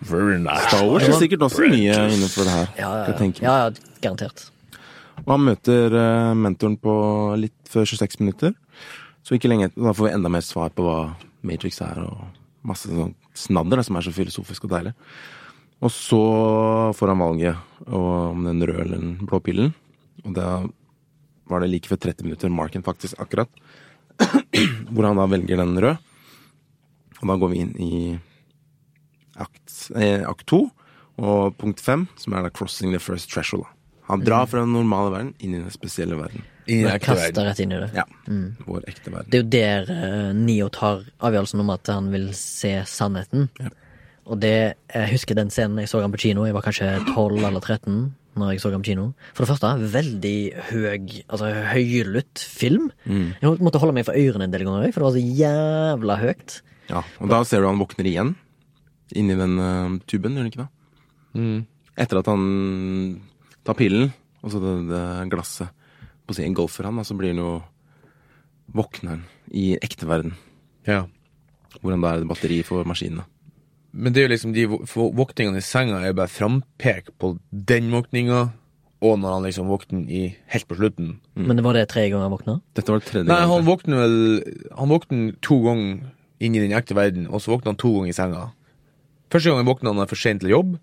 Very nice. Star Wars er sikkert også mye innenfor det her. Ja, kan jeg ja, tenke meg. ja, ja garantert. Og han møter eh, mentoren på litt før 26 minutter. Så ikke lenge etter, da får vi enda mer svar på hva Matrix er, og masse sånn snadder da, som er så filosofisk og deilig. Og så får han valget og om den røde eller den blå pillen. Og da var det like før 30 minutter, marken faktisk, akkurat. Hvor han da velger den røde. Og da går vi inn i akt, eh, akt 2 og punkt 5, som er da 'Crossing the First Threshold'. da. Han drar fra den normale verden inn i den spesielle verden. Ingen Jeg ekte verden. kaster rett inn i det. Ja, Vår ekte verden. Det er jo der eh, Neo tar avgjørelsen om at han vil se sannheten. Og det, jeg husker den scenen jeg så han på kino. Jeg var kanskje 12 eller 13 når jeg så han på kino. For det første, veldig høy, altså høylytt film. Jeg måtte holde meg for ørene en del ganger, for det var så jævla høyt. Ja, Og da ser du han våkner igjen inni den eh, tuben, gjør han ikke det? Etter at han tar pillen, og så det, det glasset på siden golfer han, da, så blir han jo Våkner han i ekte verden, Ja. hvor han da er et batteri for maskinene. Men det er jo liksom de vo- vo- våkningene i senga er jo bare frampek på den våkninga, og når han liksom våkner i helt på slutten. Men det var det tre ganger jeg våkna. Dette var det tredje Nei, han gang. våkner vel Han våkner to ganger inn i den ekte verden, og så våkner han to ganger i senga. Første gangen våkner han når han er for sent til jobb,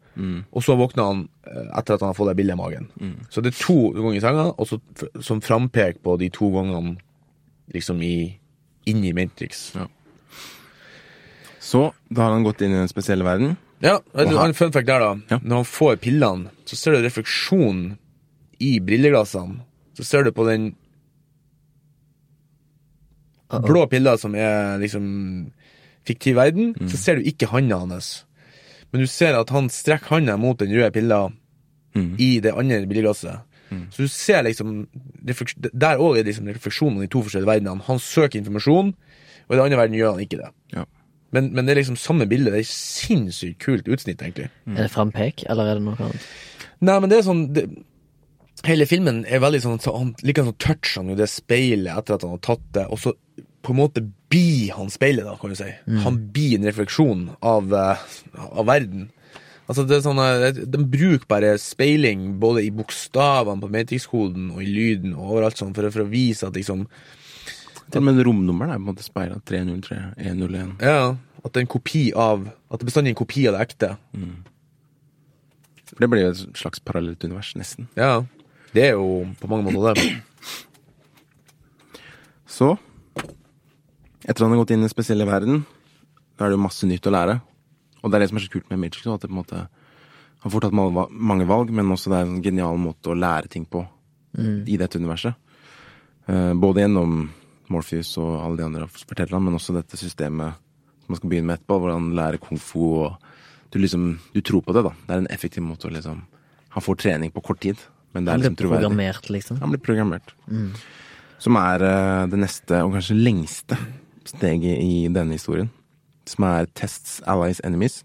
og så våkner han eh, etter at han har fått det bildet i magen. Så det er to ganger i senga, og så f- som frampek på de to gangene liksom i inni Matrix. Så da har han gått inn i den spesielle verden. Ja, vet du, en fun fact der, da. Ja. Når han får pillene, så ser du refleksjonen i brilleglassene. Så ser du på den Uh-oh. blå pilla som er liksom fiktiv verden, så ser du ikke handa hans. Men du ser at han strekker handa mot den røde pilla i det andre brilleglasset. Så du ser liksom refleks- Der òg er liksom refleksjonen i to forskjellige verdener. Han søker informasjon, og i den andre verden gjør han ikke det. Ja. Men, men det er liksom samme bilde. Det er sinnssykt kult utsnitt, egentlig. Er det frampek, eller er det noe annet? Nei, men det er sånn det, Hele filmen er veldig sånn så han, Like sånn toucher han jo det speilet etter at han har tatt det, og så på en måte blir han speilet, da, kan du si. Han blir en refleksjon av, eh, av verden. Altså, det er sånn eh, De bruker bare speiling både i bokstavene på Matrix-koden og i lyden og overalt sånn, for, å- for å vise at liksom Til og med romnummeren er på en måte speila. 303, 101. Ja, at det er en kopi av At det bestandig er en kopi av det ekte. For det blir jo et slags parallelt univers, nesten. Ja. Det er jo på mange måter det. Så Etter at han har gått inn i den spesielle verden, da er det jo masse nytt å lære. Og det er det som er så kult med Matrix, nå, at det på en måte har fort hatt mange va- mange valg, men også det er en genial måte å lære ting på i dette universet. Eh, både gjennom Morpheus og alle de andre forteller han, men også dette systemet som man skal begynne med etterpå, hvor han lærer kung fu og du liksom, du tror på det, da. Det er en effektiv måte å liksom Han får trening på kort tid, men det er Han ble liksom troverdig. programmert, liksom. Mm. Han blir programmert. Som er eh, det neste, og kanskje lengste, steget i denne historien. Som er Tests Allies Enemies.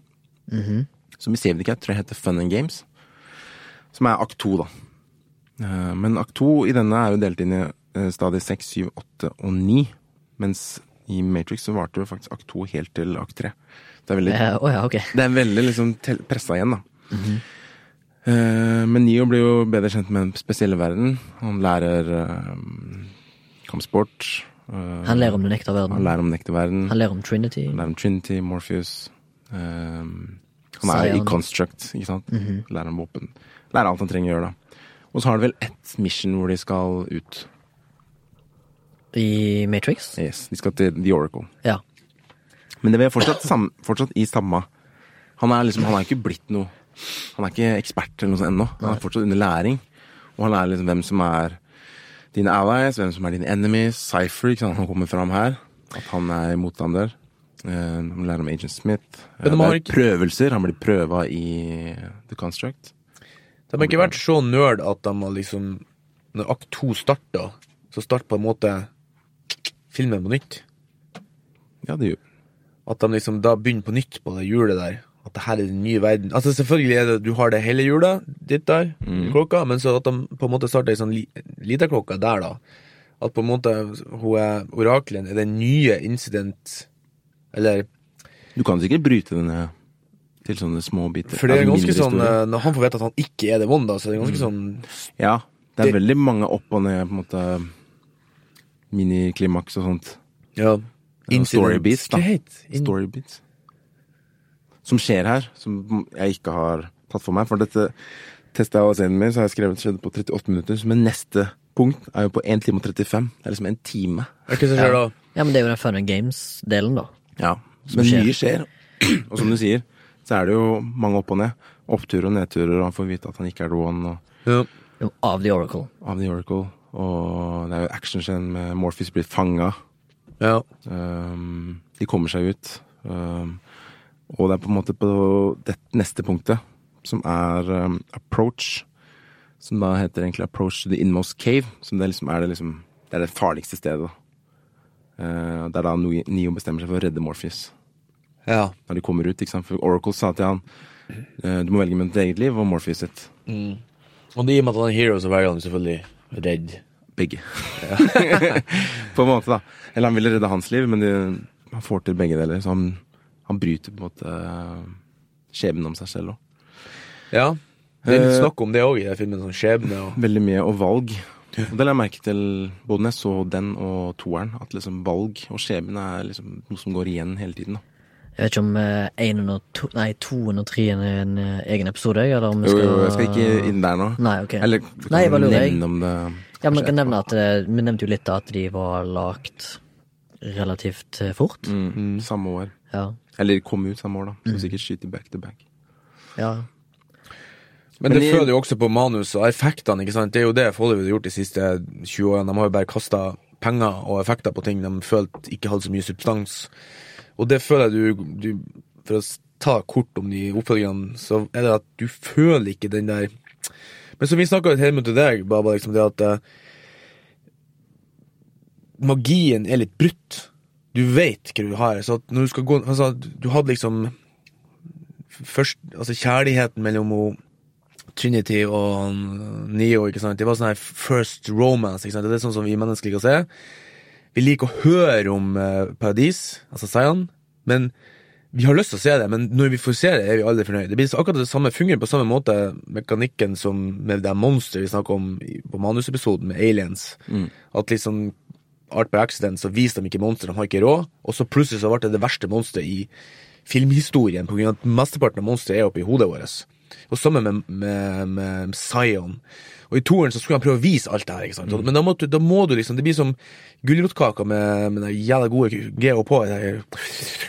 Mm-hmm. Som i Savedycat tror jeg heter Fun and Games. Som er akt to, da. Eh, Men akt to i denne er jo delt inn i eh, stadier seks, syv, åtte og ni. Mens i Matrix så varte jo faktisk akt to helt til akt tre. Det er veldig Eh, Å ja, ok. det er veldig liksom pressa igjen, da. Eh, men Neo blir jo bedre kjent med den spesielle verden. Han lærer eh, kampsport. eh, Han ler om den ekte han verden. lærer om den ekte verden. Han ler om Trinity. Han lærer om Trinity, Morpheus. eh, han er i Zion. Mhm. Construct, ikke sant. Lærer om våpen. Lærer alt han trenger å gjøre, da. Og så har de vel ett mission hvor de skal ut. I Matrix? Yes, De skal til The Oracle. Ja. Men det er fortsatt, sam, fortsatt i samme Han er liksom, han er ikke blitt noe Han er ikke ekspert eller noe sånt ennå. Han er fortsatt under læring. Og han lærer liksom hvem som er dine allies, hvem som er dine enemies. Cypher, ikke sant, han kommer fram her. At han er motstander. Eh, Han lærer om Agent Smith. Eh, Men de det har er ikke- prøvelser. Han blir prøva i The Construct. De har ikke vært så nerd at de har liksom Når akt to starter, så starter på en måte filmen på nytt. Ja, det gjør At de liksom da begynner på nytt på det hjulet der. At det her er den nye verden. Altså Selvfølgelig er det du har det hele hjulet ditt der, klokka, men så at de på en måte starter ei sånn li, lita klokka der, da. At på en måte hun er orakelen er den nye incident Eller Du kan sikkert bryte den ned til sånne små biter. For det er Altså, ganske mindre sånn historier. eh, Når han får vite at han ikke er det one, da, så er det ganske sånn Ja, det er Det- veldig mange opp og ned, på en måte miniklimaks og sånt. Ja. story beats, da. Hva heter det? In- Storybeats. Som skjer her, som jeg ikke har tatt for meg. For dette testa jeg av scenen min, så har jeg skrevet skjedde på 38 minutter. Men neste punkt er jo på 1 time og 35. Det er liksom en time. Hva som skjer da? ja, men det er jo den Fun and Games-delen, da. Ja, men skjer. mye skjer. Og som du sier, så er det jo mange opp og ned. Opptur og nedturer, og han får vite at han ikke er the one og Ja. Jo, Av The Oracle. av The Oracle. Og det er jo actionscenen med Morpheus blir fanga. ja. Um, de kommer seg ut. Um, og det er på en måte på det neste punktet, som er um, approach. Som da heter egentlig approach to the inmost cave. Som det liksom er det, liksom, det, er det farligste stedet. Uh, det er da Neo Neo bestemmer seg for å redde Morpheus. Ja. Når de kommer ut, ikke sant? For Oracle sa til han eh, du må velge mellom ditt eget liv og Morpheus sitt. Og det i og med at han er hero, så velger han selvfølgelig redd. Begge. på en måte, da. Eller han ville redde hans liv, men det, han får til begge deler. Så han, han bryter på en måte eh, skjebnen om seg selv òg. Ja. Det er litt Eh, snakk om det òg i den filmen. Sånn skjebne og Veldig mye og valg. Og det la jeg merke til både når jeg så den og toeren, at liksom valg og skjebne er liksom noe som går igjen hele tiden. da. Jeg vet ikke om eh, en og to, nei, toen og treen er en eh, egen episode, jeg, eller om vi Jo, skal jo, jeg skal ikke inn der nå. Nei, ok. Eller vi Nei, jeg kan bare lurer. nevne om det Ja, men kanskje jeg kan etterpå. nevne at eh, Vi nevnte jo litt da at de var lagt relativt eh, fort. Mm, samme år. Ja. Eller kom ut samme år, da. Mm. Så sikkert skyter back to back. ja. Men, Men det i- føler jo også på manus og effektene, ikke sant. Det er jo det Follywood har gjort de siste 20 årene. De har jo bare kasta penger og effekter på ting de følte ikke hadde så mye substans. Og det føler jeg du, du For å s- ta kort om de oppfølgingene, så er det at du føler ikke den der Men som vi snakka litt hjemme til deg, Baba, liksom det at eh, magien er litt brutt. Du veit hva du har. Så at når du skal gå altså, Du hadde liksom først Altså kjærligheten mellom hun Trinity og han Neo, ikke sant? Det var sånn her first romance, ikke sant? Det er sånn som vi mennesker liker å se. Vi liker å høre om eh, paradis, altså Zion, men vi har lyst til å se det, men når vi får se det, er vi aldri fornøyd. Det blir så akkurat det samme, fungerer på samme måte mekanikken som med det monster vi snakker om i- på manusepisoden med Aliens. At liksom, art by accident, så viser de ikke monster, de har ikke råd, og så plutselig så ble det det verste monsteret i filmhistorien, på grunn av at mesteparten av monsteret er oppi hodet vårt. Og sammen med, med, med Zion. Og i toeren så skulle han prøve å vise alt det her, ikke sant? men da må, du, da må du liksom Det blir som gulrotkaka med, med den jævla gode GH på den her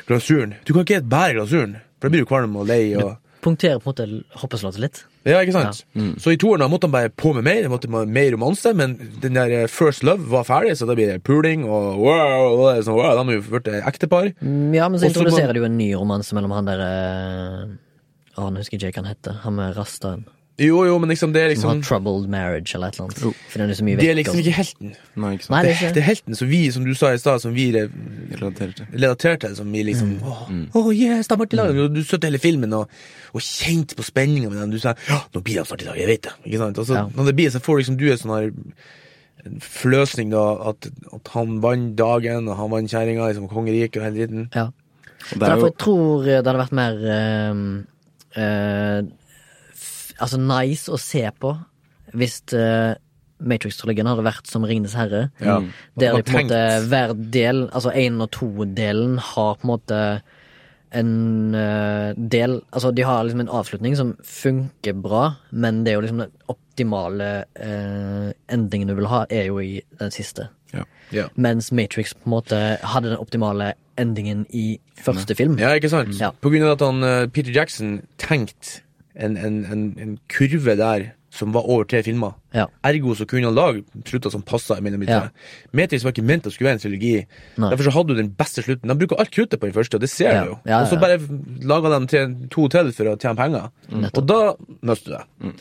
glasuren. Du kan ikke spise bare glasuren, for da blir du kvalm og lei og Punktere på en måte hoppeslottet litt. Ja, ikke sant? Så i toeren da måtte han bare på med mer, det måtte man- mer romanse, men den der eh, First Love var ferdig, så da blir det puling og wow, og det er sånn, wow, da må vi blitt ektepar. Mm, Ja, men så Og så må- introduserer du jo en ny romanse mellom han der eh, Å, nå husker jeg ikke hva han heter. Han med rastaen. Jo, jo, men liksom, det er Som har liksom troubled marriage eller et eller annet. Fordi han er så mye Det vekk. altså. er liksom og- ikke helten. Nei, ikke Nei, Det, sant? det er det ikke er helten som vi, som du sa i stad, som vi eh, re- Jeg relaterer til. relaterte til, som vi liksom Åh, åh, yes, de har vært i lag. Og Du satt hele filmen og, og kjente på spenninga med dem. Du sa ja, nå blir de snart i lag, jeg vet det. Ikke sant? Og så, Ja. Når det blir, så får liksom du en sånn her en fløsning, da, at, at han vant dagen, og han vant kjerringa, liksom kongeriket og hele dritten. Ja. Og det For er derfor jo jeg tror det hadde vært mer eh, eh, f- Altså nice å se på hvis eh, Matrix-trilogien hadde vært som Ringenes herre. Ja. Der Mm. Og de på en måte tenkt. hver del, altså én og to-delen, har på en måte en eh, del Altså de har liksom en avslutning som funker bra, men det er jo liksom den optimale eh, endingen du vil ha, er jo i den siste. ja. Ja. Mens Matrix på en måte hadde den optimale endingen i første film. Ja, ikke sant? Ja. På grunn av at han, eh, Peter Jackson tenkte en, en, en, en kurve der som var over tre filmer. Ja. Ergo så kunne han lage slutter som passa mellom de Ja. tre. Matrix var ikke ment å skulle være en trilogi. Nei. Derfor så hadde du den beste slutten. De bruker alt kruttet på den første, og det ser Ja. du jo. Ja, ja, Og så ja. bare laga de tre, to til for å tjene penger. Og da mister du det.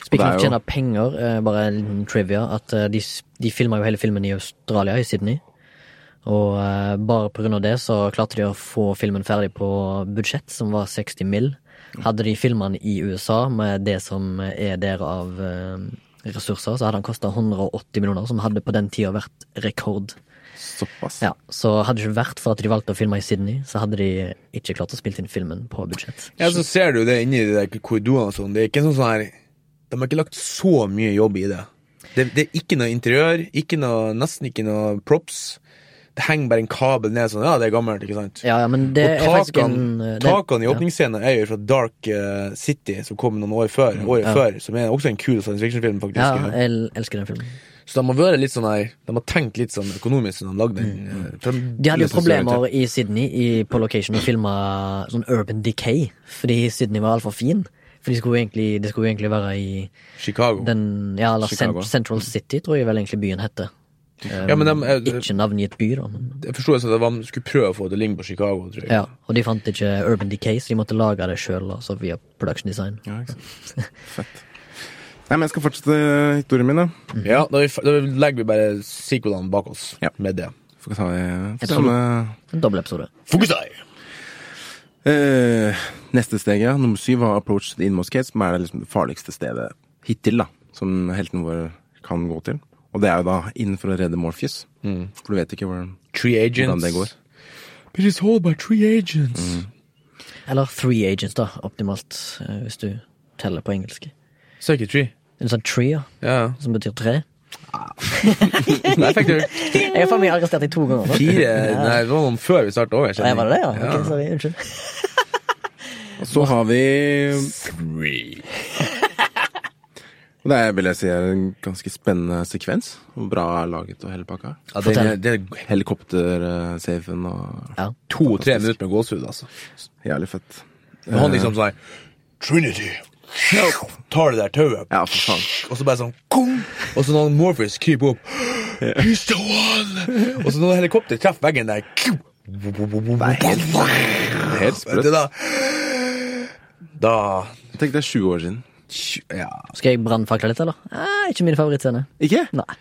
Speaking Og det er of jo- tjene penger, eh, bare en liten trivia, at eh, de, s- de filma jo hele filmen i Australia, i Sydney. Og eh, bare på grunn av det så klarte de å få filmen ferdig på budsjett, som var 60 mill. Hadde de filma den i USA med det som er der av eh, ressurser, så hadde den kosta 180 millioner, som hadde på den tida vært rekord. såpass. Ja, Så hadde det ikke vært for at de valgte å filme i Sydney, så hadde de ikke klart å spille inn filmen på budsjett. Ja, så ser du det inni de der korridorene og sånn. Det er ikke sånn sånn her De har ikke lagt så mye jobb i det. Det, det er ikke noe interiør, ikke noe, nesten ikke noe props. Det henger bare en kabel ned sånn. Ja, det er gammelt, ikke sant? Ja, ja, men det er og faktisk en takene, eh, det- takene i ja. åpningsscenen er jo fra Dark eh, City, som kom noen år før, året Mm, Ja. før, som er også en kul science fiction-film, faktisk. Ja, jeg el- elsker den filmen. Så de har vært litt sånn her De har tenkt litt sånn økonomisk når de lagde den. Mm, eh, for De hadde jo løser seg problemer i Sydney i, på location og filma sånn Urban Decay, fordi Sydney var altfor fin. For de skulle jo egentlig, de skulle jo egentlig være i til Chicago. den Ja, eller Chicago. Cent Central City, tror jeg vel egentlig byen heter. Ja, men dem, eh, Ikke navngitt by, da. Men, jeg forsto det sånn at de skulle prøve å få det til å ligne på Chicago, tror jeg. ja, og de fant ikke Urban Decay, så de måtte lage det sjøl, altså via production design. Ja, ikke sant. Fett. Nei, men jeg skal fortsette historien min, da. Ja, da, vi, da legger vi bare sequelene bak oss Ja. med det. Får ikke ta eh, det Jeg tror- samme En dobbel episode. Fokus deg! eh, Neste steg, ja. Nummer syv var Approach to the Inmost Cave, som er det, liksom, det farligste stedet hittil, da. Som heltene våre kan gå til. Og det er jo da innenfor å redde Morpheus. Mm. For du vet ikke hvor Three agents. Hvordan det går. But it's all by three agents. Eller Three Agents, da, optimalt, eh, hvis du teller på engelsk. Sa ikke three? En sånn tree, ja, Ja. som betyr tre. Der fikk du Jeg er faen meg arrestert i to ganger. nå. fire Nei, det var noen før vi starta òg. Ja, var det det, ja? Ok, sorry, unnskyld. Og så har vi Three. Og det er, vil jeg si, er en ganske spennende sekvens. Og bra laget og hele pakka. Ja, det, Fortell. det er Helikoptersafen og Ja. to-tre minutter med gåsehud, altså. Jævlig fett. Og han liksom sånn Trinity. Tar det der tauet, Ja, for faen. og så bare sånn kong, Og så når Morpheus kryper opp He's the one! Og så når helikopteret treffer veggen der Det er helt sprøtt. Da, da Tenk, det er 20 år siden. Ja. Skal jeg brannfakle litt, eller? Eh, ikke min favorittscene. Ikke? Nei.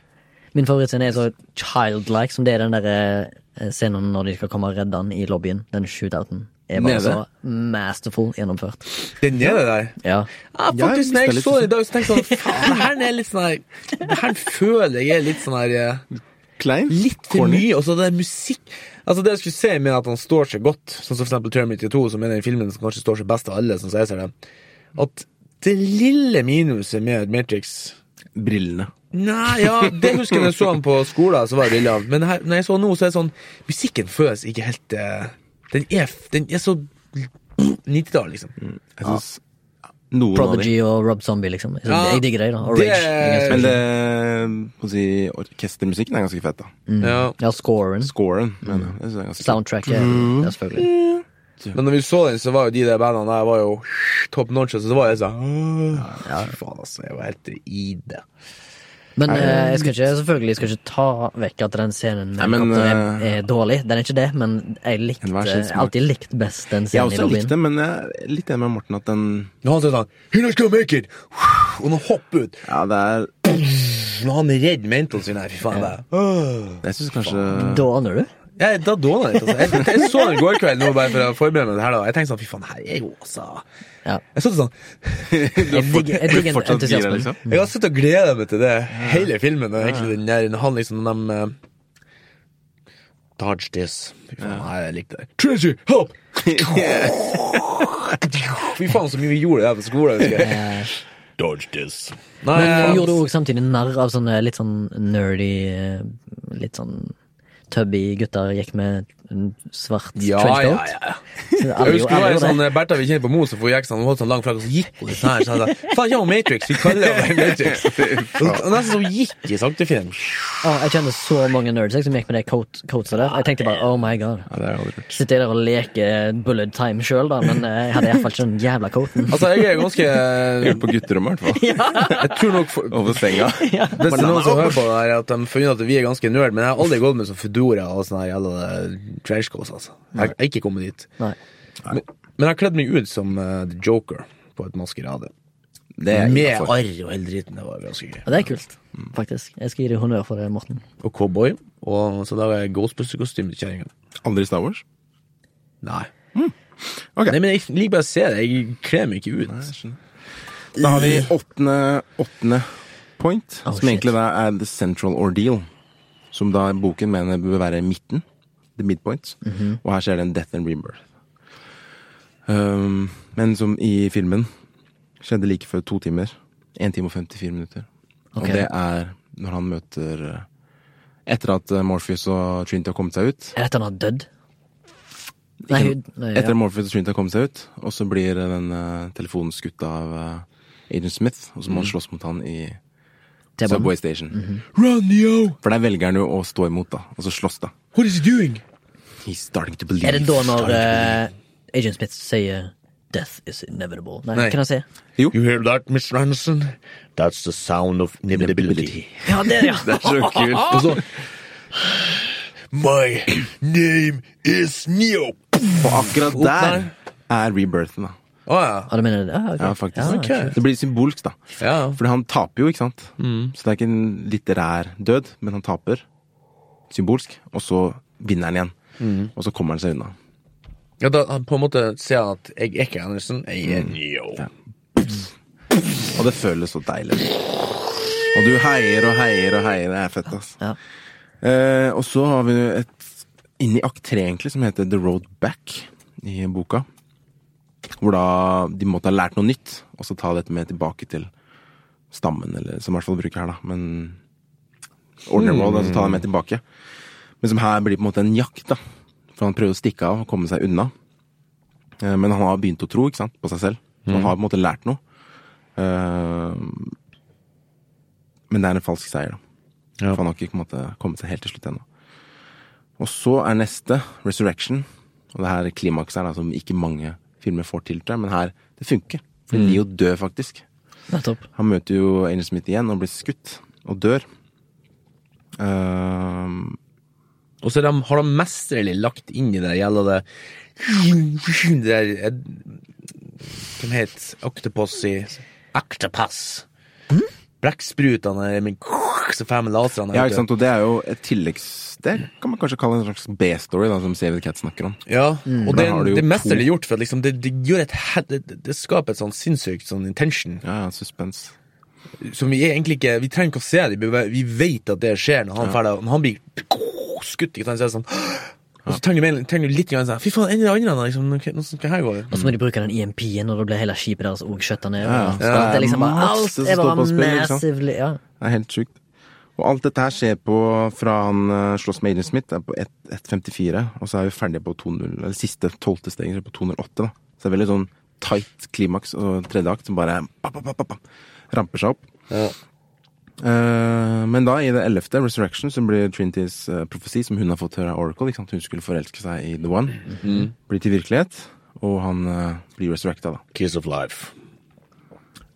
Min favorittscene er så childlike som det er den der eh, scenen når de skal komme og redde han i lobbyen. Den shootouten er bare Nede? så masterful gjennomført. Den er det der. Ja. Ja, Ja, faktisk, når jeg jeg visste så den litt. i dag, så tenkte jeg sånn Faen, det her er litt sånn her Det her føler jeg er litt sånn her eh, Klein? Litt for mye, og så det er musikk Altså det jeg skulle si med at han står seg godt Sånn som for eksempel Terminator 2 Som er den filmen som kanskje står seg best av alle Sånn som jeg ser det At det lille minuset med Matrix Brillene. Nei, ja, det husker jeg når jeg så han på skolen Så var det lille av Men her, når jeg så nå så er det sånn Musikken føles ikke helt eh, Den er, f- den er så 90-tall liksom Jeg synes noen Prodigy og Rob Zombie, liksom. Jeg, Ja, jeg digger det, da. Og det- Rage. Jeg av elsker dem. Men det. det, må si, orkestermusikken er Mm. ganske fett, da. Ja Ja, scoren. Mm. Scoren, mener jeg. jeg. synes det er ganske fett. Soundtracket. Ja, selvfølgelig. Men når vi så den, så var jo de der bandene der var jo top notch, så det var jeg sånn «Åh, Fy faen, altså. Jeg var helt i det. Men eh, jeg skal ikke, selvfølgelig skal ikke ta vekk at den scenen med Nei, men, helikopter er, eh, er dårlig. Den er ikke det, men jeg likte, Enhver sin jeg har smak. alltid likt best den Jeg har scenen i også likt lobbyen. det, men jeg er litt enig med Morten at den Når han sier sånn You're not gonna make it! Og når han hopper ut Ja, det er Når han redder mentoren sin her, fy faen. det er- Åh. Jeg syns kanskje Dåner du? Jeg, da dåna jeg litt. Altså. Jeg, tenkte- jeg så den i går kveld nå bare for å forberede meg til det her. da Jeg tenkte sånn, fy faen, det her er jo altså Ja. Jeg satt sånn Jeg digger, jeg digger fortsatt gira, entusiasmen. liksom? Jeg har sittet og gleda meg til det hele filmen. Og egentlig den der når han liksom når de eh, Dodge this. Fy faen, nei, jeg likte det. Treasure, help! Fy faen, så mye vi gjorde det her på skolen. husker jeg. Dodge this. Nei, Men jeg- gjorde du også samtidig narr av sånne litt sånn nerdy, eh, litt sånn tubby gutter gikk med en svart ja, ja, trenchcoat? ja. Alle Jeg husker gjorde- det alle var en gjorde sånn eh, Bertha vi kjenner på Mo, som for gikk sånn, hun holdt sånn lang flagg, og så gikk hun litt sånn her. Så jeg sa, faen, jeg er jo Matrix, vi kaller henne Matrix. Og nesten som hun gikk i sakte film. Å, Ah, jeg kjenner så mange nerds jeg, som gikk med det coat, coatsa der. Jeg tenkte bare oh my god. Ja, det har jeg aldri hørt. Sitter jeg der og leker bullet time sjøl, da, men eh, jeg hadde iallfall ikke den jævla coaten. Altså, jeg er ganske Jeg gjør det på gutterommet, i hvert fall. Jeg tror nok for, Over senga. Hvis det er noen som hører på det her, at de finner at vi er ganske nerd, men jeg har aldri gått med sånn fedora og sånn her jævla trashcoats, altså. Jeg har ikke kommet dit. Nei. Men, men jeg har kledd meg ut som eh, The Joker på et maskerade. Det er jeg Med innenfor. arr og hele driten. Det var ganske gøy. Og det er kult, faktisk. Jeg skal gi deg honnør for det, Morten. Og cowboy. Og så laga jeg Ghostbuster-kostyme til kjerringa. Aldri Star Wars? Nei. Ok. Nei, men jeg liker bare å se det. Jeg kler meg ikke ut. Nei, jeg skjønner. Da har vi åttende, åttende point, Oh, som shit. egentlig da er The Central Ordeal. Som da boken mener bør være midten. The midpoint. Mhm. Og her skjer det en death and rebirth. Um, men som i filmen skjedde like før to timer. Én time og 54 minutter. Ok. Og det er når han møter eh, Etter at eh, Morpheus og Trinity har kommet seg ut. Er dette han har dødd? Nei, hun nei, Etter ja. at Morpheus og Trinity har kommet seg ut, og så blir eh, den eh, telefonen skutt av eh, Agent Smith, og så må han slåss mot han i Mhm. T-banen. Mhm. Subway Station. Run, yo! For der velger han jo å stå imot, da, og så slåss, da. What is he doing? He's starting to believe. Er det da når starting to eh, Agent Smith sier 'death is inevitable'? Nei, Nei. kan han si? You hear that, Mr. Anderson? That's the sound of inevitability. Ja, det, ja. believe. Det er så kult. Og så My name is Neo. Og akkurat der er rebirthen, da. Å ja. Ah, du mener det? Ah, ok. Ja, faktisk. Ja, ok. Det blir symbolsk, da. ja. Fordi han taper jo, ikke sant? Så det er ikke en litterær død, men han taper. Symbolsk. Og så vinner han igjen. Og så kommer han seg unna. Ja, da han på en måte sier han at jeg er ikke Andersen, jeg er Neo. Og det føles så deilig. Og du heier og heier og heier. Det er fett, ass. Ja. Eh, og så har vi et inni akt tre, egentlig, som heter The Road Back i boka. Hvor da de måtte ha lært noe nytt, og så ta dette med tilbake til stammen, eller som i hvert fall bruker her, da. Men Ordinary Road, altså ta det med tilbake. Men som her blir på en måte en jakt, da. For han prøver å stikke av og komme seg unna. Eh, Men han har begynt å tro ikke sant, på seg selv. Så Han har på en måte lært noe. Eh, Men det er en falsk seier, da. Ja. For han har ikke på en måte, kommet seg helt til slutt ennå. Og så er neste Resurrection. Og det her klimakset er da, som ikke mange filmer får til, tror jeg, men her det funker. For Neo dør faktisk. Nettopp. Han møter jo Angel Smith igjen og blir skutt. Og dør. Eh, Og så er de- har de mesterlig lagt inn i det gjelder det Det der eh, Hvem het Octopus i Octopus. Blekksprutene er med så fem laserne. Hmm? Ja, vet du. ikke sant, og det er jo et tilleggs... Det kan man kanskje kalle en slags B-story, da, som Save the Cat snakker om. Ja, og det, Da Mm. har du jo det er mesterlig to. gjort, for at liksom det, det gjør et he- det, det- det skaper et sånn sinnssykt sånn intention Ja, ja, suspens. som vi er egentlig ikke Vi trenger ikke å se det, vi bare- vi vet at det skjer når han, ferdig, når han blir skutt. Ikke sant, så er det sånn Og så trenger du, mer- trenger du litt grann sånn Fy faen, en eller annen liksom, nå skal- nå skal her gå. Og så må de bruke den E EMP-en, og da blir hele skipet deres òg skjøtta ned. Ja, ja. og- Så det er liksom bare Masse alt som er står bare på spill, ikke sant? massively ja. Det er helt sjukt. Og alt dette her skjer på fra han eh, slåss med Agent Smith, er på 1 1.54, og så er vi ferdige på 2.0, eller siste tolvte steget, så er vi på 2.08, da. Så det er veldig sånn tight klimaks og tredje akt som bare bam, bam, bam, bam, bam, ramper seg opp. Ja. Eh, men da, i det ellevte, Resurrection, som blir Trinities eh, profesi, som hun har fått høre av Oracle, ikke sant? hun skulle forelske seg i The One, blir til virkelighet, og han eh, blir resurrecta, da. Kiss of life.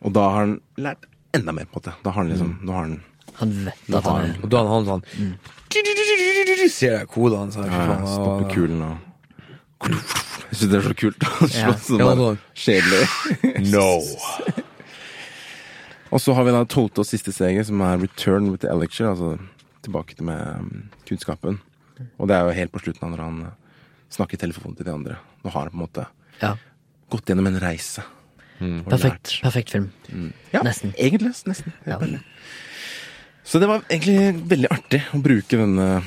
Og da har han lært enda mer, på en måte. Da har han liksom Nå har han Han vet at han er Og da er han sånn Ser jeg kodene hans her. fy faen, eh, stopper og- kulen og Jeg syns det er så kult. Han Ja. slår sånn Ja, der da. kjedelig. No. Og så har vi da tolvte og siste steget, som er return with the elixir, altså tilbake til med um, kunnskapen. Og det er jo helt på slutten av når han uh, snakker i telefonen til de andre. Nå har han på en måte Ja. gått gjennom en reise. og Perfekt, lært. perfekt film. Ja, Nesten. Egentlig. nesten. Ja. Så det var egentlig veldig artig å bruke denne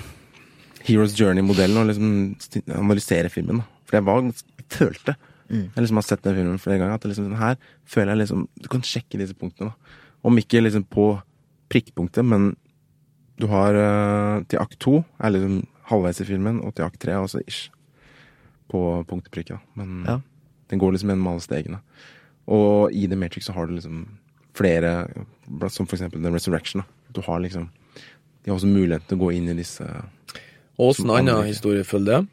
Heroes Journey-modellen og liksom sti- analysere filmen. da. For jeg var gans- jeg følte Jeg liksom har sett den filmen flere ganger. At det liksom, den her føler jeg liksom Du kan sjekke disse punktene. da. Om ikke liksom på prikkpunktet, men du har eh, til akt to er liksom halvveis i filmen, og til akt tre er også ish på punkt og prikke. da. Men Ja. den går liksom gjennom alle stegene. Og i The Matrix så har du liksom flere, som for eksempel The Resurrection. da. Du har liksom De har også mulighet til å gå inn i disse Og Åssen annen historie følger det?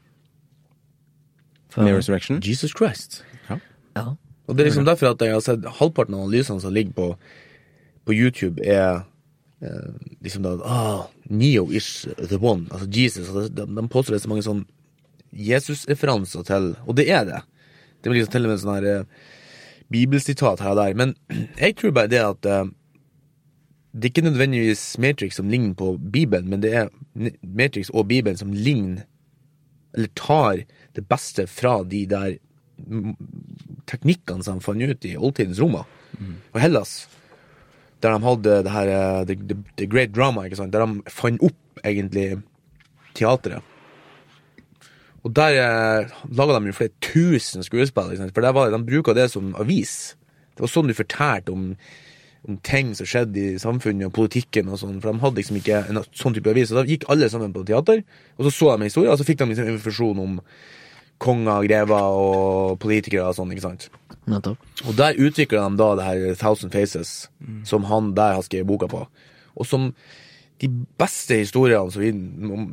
For, med Resurrection. Jesus Christ. ja. Og det er liksom derfor at jeg har sett halvparten av analysene som ligger på, på YouTube, er eh, liksom da ah, Neo is the one, altså Jesus. Altså, de, de påstår det er så mange sånn Jesus-referanser til, og det er det. Det blir liksom til og med sånn her eh, bibelsitat her og der. Men jeg tror bare det at eh, det er ikke nødvendigvis Matrix som ligner på Bibelen, men det er n- Matrix og Bibelen som ligner, eller tar det beste fra de der teknikkene som de fant ut i oldtidens Roma og Hellas, der de hadde det her eh, the, the, the Great Drama, ikke sant? der de fant opp egentlig teatret. Og der eh, laga de jo flere tusen skuespill, ikke sant? for der var, det- de bruka det som avis. Det var sånn du fortalte om, om ting som skjedde i samfunnet og politikken og sånn, for de hadde liksom ikke en sånn type avis. Så da gikk alle sammen på teater, og så så de historier, og så fikk de liksom informasjon om konger, grever og politikere og sånn, ikke sant. Nettopp. Og der utvikler de da det her Thousand Faces, som han der har skrevet boka på. Og som de beste historiene som vi, om,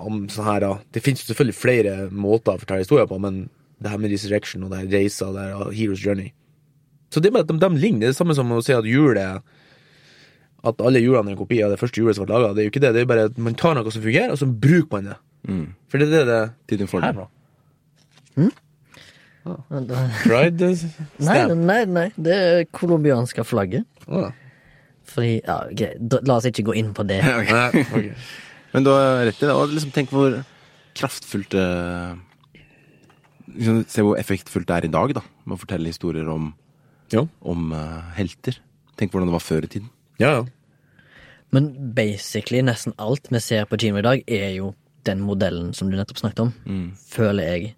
om sånn her da, Det finnes jo selvfølgelig flere måter å fortelle historier på, men det her med Resurrection og det her Reisa og det her Hero's Journey Så det er bare at de, de ligner. Det er det samme som å si at julet At alle julene er en kopi av det første julet som ble laga. Det er jo ikke det. Det er bare at man tar noe som fungerer, og så bruker man det. For det er det det Til din her, fordel. da. Pride Nei, nei, nei. Det er colombianske flagget. Fordi ja, greit. Da- La oss ikke gå inn på det. Men du har rett i det. Og liksom tenk hvor kraftfullt eh, liksom, Se hvor effektfullt det er i dag, da. Med å fortelle historier om, Jo. om eh, helter. Tenk hvordan det var før i tiden. Ja, ja. Men basically nesten alt vi ser på kino i dag, er jo den modellen som du nettopp snakket om. Mm. Føler jeg.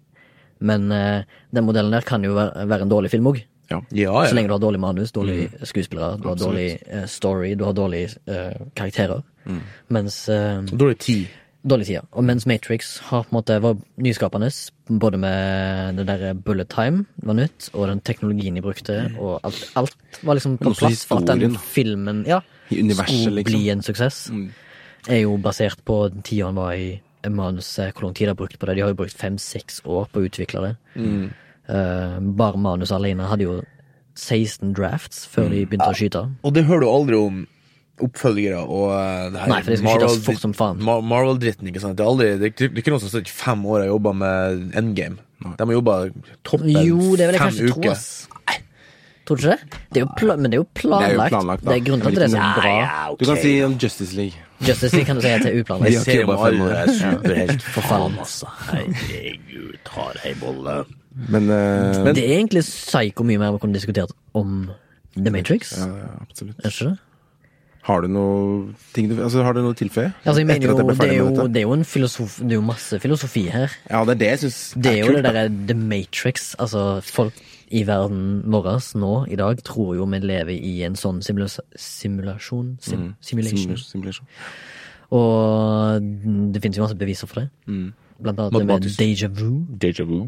Men eh, den modellen der kan jo være, være en dårlig film òg. Ah, Ja. Mm. Ja, ja. Så lenge du har dårlig manus, dårlig skuespillere, du har dårlig eh, story, du har dårlig eh, karakterer. Mm. Mens eh, Dårlig tid. Dårlig tid, ja. Og mens Matrix har på en måte var nyskapende, både med det der bullet time var nytt, og den teknologien de brukte, og alt, alt var liksom på Mm. også plass for at historien, den da. filmen ja, I universet, skulle liksom. bli en suksess. Er jo basert på den tida han var i manuset, hvor lang tid de har brukt på det. De har jo brukt fem-seks år på å utvikle det. Eh, bare manuset alene hadde jo 16 drafts før de begynte å skyte. Og det hører du aldri om oppfølgere og eh, det her Nei, for det skal skytes Marvel- fort som faen. Mar Marvel-dritten, ikke sant. Det er, aldri, det, er ikke- det er ikke noen som har sittet i fem år og jobba med endgame. De har jobba toppen Jo, det vil jeg fem kanskje tro, uker. ass. Tror du ikke det? det er jo pla men det er jo planlagt. Det er, planlagt, da. grunnen til at det er så Litt bra. Du kan si om Justice League. Justice League kan du si at det er uplanlagt. De har ikke jobbet fem år. superhelt. Forfallen. altså. Herregud, har ei bolle. Men, eh, Men det er egentlig psyko mye mer vi kunne diskutert om The Matrix. Mm. ja, ja, absolutt. Er det ikke det? Har du noe ting du, altså, har du noe å tilføye? Altså, jeg mener Etter at jeg jo, ble det, er ferdig med jo, dette? det er jo en filosof, det er jo masse filosofi her. Ja, det er det jeg syns Det er jo det da. derre The Matrix. Altså, folk i verden vår nå i dag tror jo vi lever i en sånn simula simulasjon Mm. sim Simulation. Simu- Simulation. Og det finnes jo masse beviser for det. Mm. Blant annet det med Matematisk. déjà vu, Deja vu.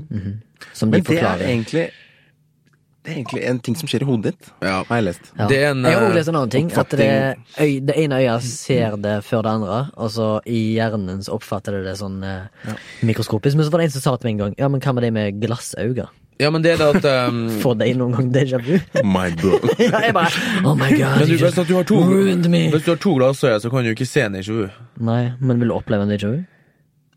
som de Men det er forklarer. egentlig Det er egentlig en ting som skjer i hodet ditt, Ja. har jeg lest. Ja. Det er en, jeg har også eh, lest en annen ting. At det, øy, det ene øyet ser det før det andre, og så i hjernen så oppfatter det det sånn eh, mikroskopisk. Men så var det en som sa til meg en gang Ja, men hva med det med glassøyne? Ja, men det er det at ehm, Får de noen gang déjà vu? My bro. ja, jeg bare Oh my god, men du, you hvis, just at du har to, ruined me! hvis du har to glassøyne, så kan du ikke se en déjà vu. Nei, men vil du oppleve en déjà vu?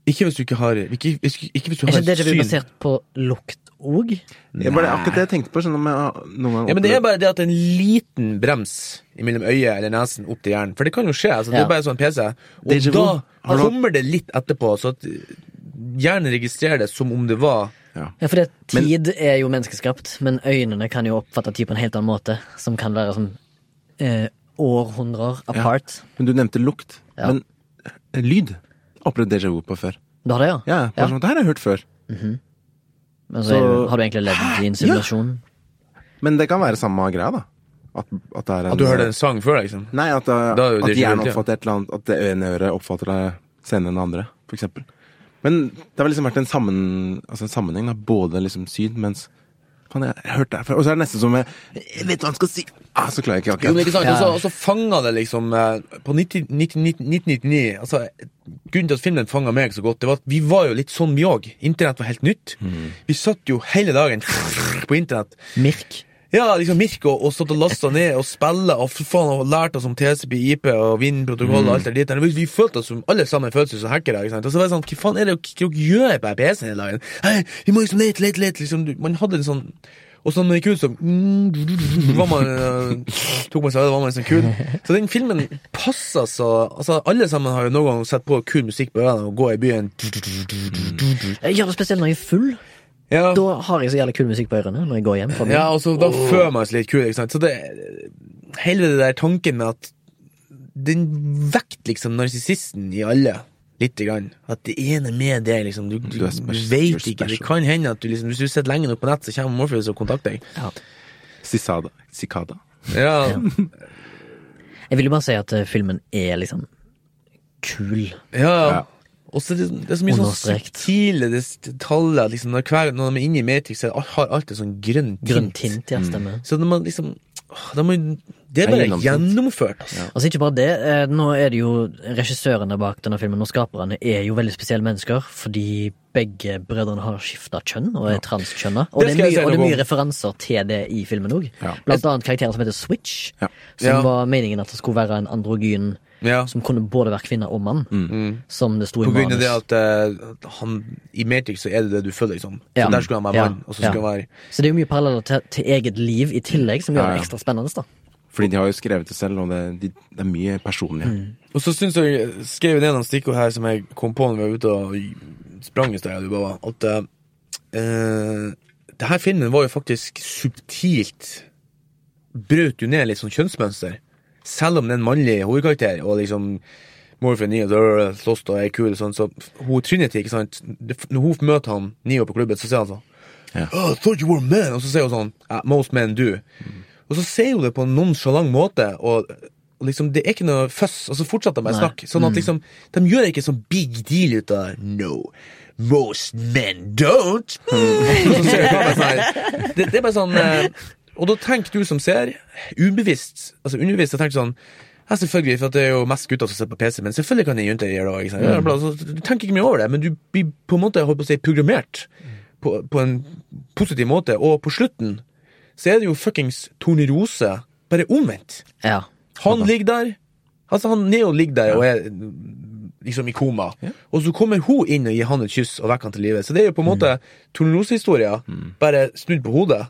Ikke hvis du ikke har Ikke, hvis- ikke hvis du Er har ikke déjà vu syn. basert på lukt òg? Det er bare akkurat det jeg tenkte på. Sånn om jeg noen gang Ja, men Det er opplevde- bare det at en liten brems mellom øyet eller nesen opp til hjernen. For det kan jo skje. altså Det Ja. er bare sånn PC. Og Déjà vu. da Har du- kommer det litt etterpå, så at hjernen registrerer det som om det var ja. Ja, for det, tid er jo menneskeskapt, men øynene kan jo oppfatte tid på en helt annen måte. Som kan være sånn eh, århundrer apart. Men du nevnte lukt. Ja. Men eh, lyd opplevde déjà vu på før. Du har det, ja? Ja, bare sånn, Det her har jeg hørt før. Men så, Så- er du- har du egentlig levd i en simulasjon? Men det kan være samme greia, da. At, at, det er en, At du hørte en sang før, liksom. Nei, at, eh, Da er jo at déjà vu, hjernen ja. oppfatter et eller annet At det ene øret oppfatter deg senere enn det andre, for eksempel. Men det har liksom vært en, sammen, altså en sammenheng, da. Både liksom syd, mens Faen, jeg har hørt det her før. Og så er det nesten som jeg, jeg vet hva han skal si! Ah, så klarer jeg ikke Jo, men akkurat. ikke sant? Ja. Og så- Og så fanga det liksom eh, På 90 90 1999 altså, Grunnen til at filmen fanga meg så godt, Det var at vi var jo litt sånn, vi òg. Internett var helt nytt. Mm. Vi satt jo hele dagen på internett. Mirk. Ja, liksom Mirko og stått og lasta ned og spille og for faen og lært oss om TCP, IP og Vinn-protokoll og alt det der. Vi følte oss som alle sammen følte oss som hackere. ikke sant? Og så var det sånn, hva faen er det dere dere gjør på PC-en hele dagen? Hei, vi må liksom lete, lete, lete. liksom, du- Man hadde en sånn og så når det gikk ut, så mm, var man, eh, tok man seg av det, var man liksom kul. Så den filmen passer så altså Alle sammen har jo noen gang sett på kul musikk på øynene og gå i byen. Jeg gjør det spesielt når jeg er full. Ja. Da har jeg så jævlig kul musikk på ørene når jeg går hjem. Fra byen. Ja, og så da føler man seg litt kul, ikke sant? Så det, hele det der tanken med at den vekt liksom narsissisten i alle, lite grann. At det ene med det, liksom, du, du, Du du er spes- du er vet ikke, det special. kan hende at du liksom, hvis du sitter lenge nok på nett, så kommer Morpheus og kontakter deg. Ja. Sisada. Sikada. Ja, Jeg vil jo bare si at eh, filmen er liksom kul. ja. Ja. Og så er det, det er så mye sånn Understrekt. subtile des- detaljer, liksom, når, hver, når de er inne i Matrix, så har alt en sånn grønn tint. Grønn tint, ja, stemmer. Så når man liksom, åh, da må, det er Det er bare gjennomtenkt. gjennomført, altså. Altså ikke bare det, eh, nå er det jo regissørene bak denne filmen og skaperne er jo veldig spesielle mennesker, fordi begge brødrene har skifta kjønn og er transkjønna. Og Det det, skal er jeg mye, si og det noe er om. mye referanser til det i filmen òg. Ja. Blant annet karakteren som heter Switch, Ja. som Ja. var meningen at det skulle være en androgyn Ja. Mm. som kunne både være kvinne og mann, som det sto i På grunn av manus. det at eh, han, i Matrix så er det det du føler, liksom. Så Ja. der skulle han være Ja. mann, og så skulle Ja. han være Så det er jo mye paralleller til, til eget liv i tillegg, som gjør Ja, ja. det ekstra spennende. da Fordi de har jo skrevet det selv, og det, de, det er mye personlig. Og så syns jeg jeg skrev ned noen stikkord her som jeg kom på når vi var ute og sprang i sted, og du bare, at eh, det her filmen var jo faktisk subtilt Brøt jo ned litt sånn kjønnsmønster. Selv om det er en mannlig hovedkarakter, og liksom Morphin Neo øh, slåss og er kul, og sånn, så hun Trinity, ikke sant det- Når hun møter han Neo på klubben, så sier han sånn Ja. oh, I thought you were a man Og så sier hun sånn "Ah, Most men do. Og så sier hun det på en nonchalant måte, og, og liksom, det er ikke noe føss, og så fortsetter de bare å Nei. snakke. Sånn at liksom, de gjør ikke sånn big deal ut av det. No, most men don't. Og så ser du på meg sånn her. Det, det er bare sånn eh, Og da tenker du som ser, ubevisst, altså underbevisst, jeg tenker sånn ja, selvfølgelig, for at det er jo mest gutter som sitter på PC, men selvfølgelig kan en jente gjøre det òg. ikke sant? Ja, bla, så Du tenker ikke mye over det, men du blir på en måte holdt på å si, programmert på, på en positiv måte. Og på slutten så er det jo fuckings Tornerose, bare omvendt. Ja. Han ligger der. Altså, han Neo ligger der og er liksom i koma. Og så kommer hun inn og gir han et kyss og vekker han til live. Så det er jo på en måte tornerose-historia, bare snudd på hodet.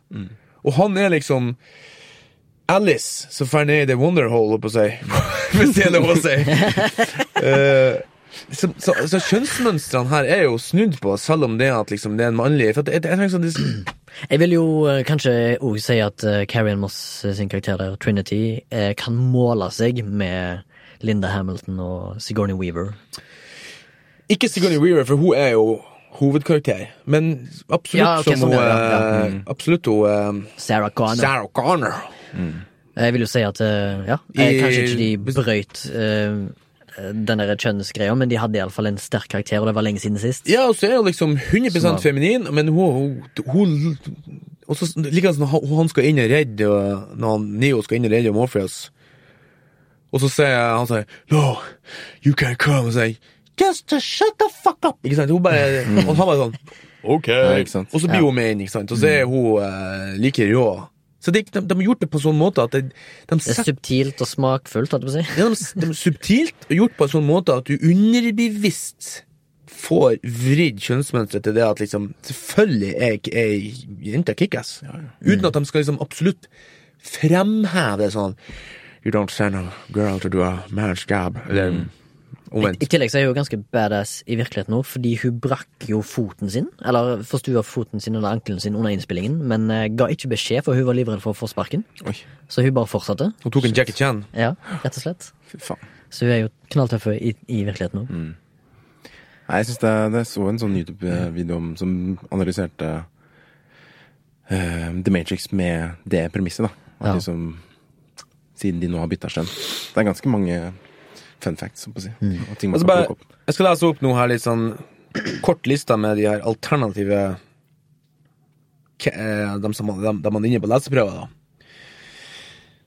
Og han er liksom Alice som drar ned i The Wonder Hole, holdt på å si. Hvis det er lov å si. Eh, så, så, så kjønnsmønstrene her er jo snudd på, selv om det er at liksom, det er en mannlig For at jeg, jeg tenker sånn, det, Jeg vil jo eh, kanskje òg si at eh, Carrie Ann Moss eh, sin karakter der, Trinity, eh, kan måle seg med Linda Hamilton og Sigourney Weaver. Ikke Sigourney Weaver, for hun er jo hovedkarakter. Men absolutt Ja, ok, som sånn, hun ja, ja, eh, Absolutt hun eh, Sarah Connor. Sarah Connor. Jeg vil jo si at eh, ja, eh, I- kanskje ikke de brøyt eh, den der kjønnsgreia, men de hadde iallfall en sterk karakter, og det var lenge siden sist. Ja, og så er hun liksom 100 Som var- feminin, men hun, hun, hun Og så likeens når han- han skal inn og redde og Når han, Neo skal inn og redde Morpheus, og så sier han sånn No, you can't come. Og sier Just to shut the fuck up! Ikke sant? Hun bare, og han bare sånn Ok. Mm. Ja, Mm. ikke sant? Og så blir hun med inn, ikke sant? Og så er hun eh, like rå. Så det, de, de har gjort det på en sånn måte at de, de Det er setter subtilt og smakfullt, holdt jeg på å si. det er de, de er subtilt og gjort på en sånn måte at du underbevisst får vridd kjønnsmønsteret til det at liksom Selvfølgelig er ikke ei jente kickass. Uten at de skal liksom absolutt fremheve sånn You don't send a girl to do a man's job. Eller omvendt. I tillegg så er hun jo ganske badass i virkeligheten nå, fordi hun brakk jo foten sin, eller forstua foten sin eller ankelen sin under innspillingen, men eh, ga ikke beskjed, for hun var livredd for å få sparken. Oi, Så hun bare fortsatte. Hun tok en Jackie Chan. Ja, rett og slett. fy faen. Så hun er jo knalltøff i, i virkeligheten nå. Nei, jeg synes det, det så en sånn YouTube-video om, som analyserte eh, The Matrix med det premisset, da. At Ja. liksom, siden de nå har bytta skjønn. Det er ganske mange fun facts, holdt på å si. Mm. Og ting man Altså kan bare, plukke opp. jeg skal lese opp noe her, litt sånn kort lista med de her alternative k- eh, De som de, de man er inne på leseprøver, da.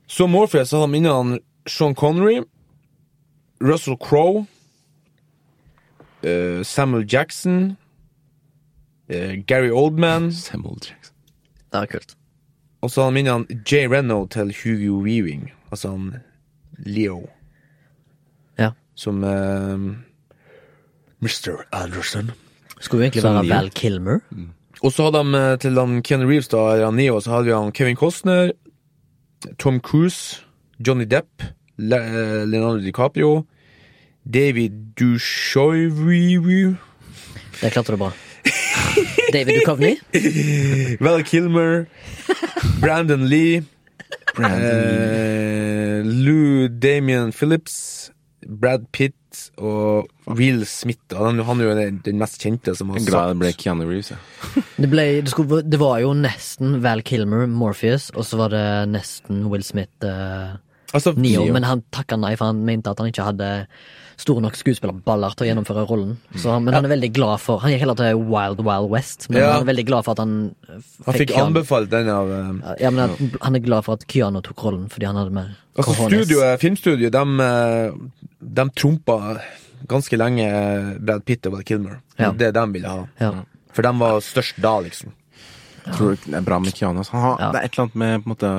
Så Morpheus hadde de inne han Sean Connery, Russell Crowe, eh, Samuel Jackson, eh, Gary Oldman, Samuel Jackson. Det er kult. og så hadde de inne han Jay Reno til Hugo Weaving, altså han Leo, Ja. som eh, Mr. Anderson. Skulle jo egentlig Som være Neo. Val Kilmer. Og så hadde de eh, til han Ken Reeves da, eller han Neo, så hadde vi han Kevin Costner, Tom Cruise, Johnny Depp, Le eh, Leonardo DiCaprio, David Dushoivu, Der klarte du bra. David Duchovny. Val Kilmer, Brandon Lee, Brandon. eh, Lou Damien Phillips, Brad Pitt og Will Smith. da. Han, han er jo den, den mest kjente som har jeg er glad det ble sagt Keanu Reeves, jeg. Det, ble, det, skulle, det var jo nesten Val Kilmer, Morpheus, og så var det nesten Will Smith, eh, altså, Neo. Men han takka nei, for han mente at han ikke hadde store nok skuespillerballer til å gjennomføre rollen. Så, han- men han er veldig glad for Han gikk heller til Wild Wild West, men Ja. han er veldig glad for at han eh, Han fikk Keanu- anbefalt den av eh, Ja, men han, han er glad for at Kyano tok rollen, fordi han hadde mer Altså cojones. studioet, Filmstudioet de, eh, de trumpa ganske lenge eh, Brad Pitt og Val Kilmer. Ja. Det de ville ha. Ja. For de var størst da, liksom. Tror du ikke det er bra med Keanu? ass? Han har, Ja. Det er et eller annet med på en måte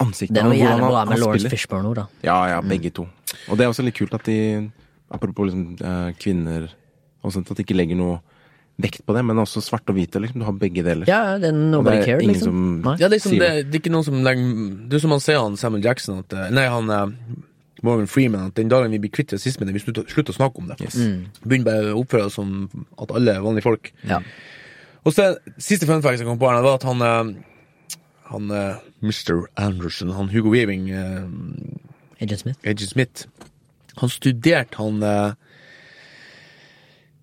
ansiktet Det er og noe hvordan jævlig han- bra han med Lawrence spiller. Fishburne nå, da. Ja, ja, begge to. Mm. Og det er også litt kult at de, apropos liksom, eh, kvinner og sånt, at de ikke legger noe vekt på det, men også svart og hvite, liksom. Du har begge deler. Ja, ja, det er nobody Det er care, ingen liksom. som- Nei. Ja, liksom, Sier det, du. det er ikke noen som legger Det er som han sier, han Samuel Jackson at, eh, Nei, han eh, Morgan Freeman, at den dagen vi blir kvitt rasismen, er vi slutter, slutter å snakke om det. Begynner bare å oppføre oss som at alle er vanlige folk. Ja. Og så siste fun fact jeg kom på her, det var at han eh, Han eh, Mr. Anderson, han Hugo Weaving eh, Agent Smith. Agent Smith. Han studerte han eh,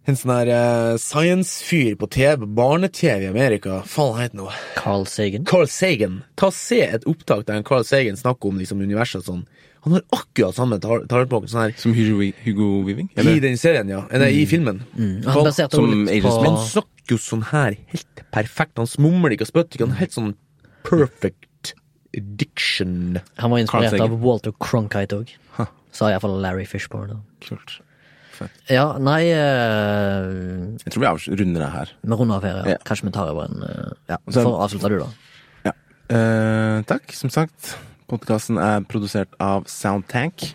en sånn her eh, science-fyr på TV, barne-TV i Amerika. Faen, hva heter han nå? Carl Sagan. Carl Sagan. Ta og Se et opptak der Carl Sagan snakker om liksom, universet og sånn. Han har akkurat samme tar- talemåte sånn her Som Hugo, Hugo Weaving? i Eller? den serien, ja. Nei, i filmen. Mm. Han baserte som jo litt Agent på Han snakker jo sånn her helt perfekt. Han smumler ikke og spytter ikke. Han er helt sånn perfect diction. Han var Carl inspirert Sagan. av Walter Cronkite òg. Sa iallfall Larry Fishburne. da. Kult. Ja, nei eh, Jeg tror vi avs- runder det her. Vi runder av her, ja. Ja. Kanskje vi tar over en eh, Ja, Så- for å avslutte du, da. Ja. Eh, takk, som sagt. Podkasten er produsert av Soundtank.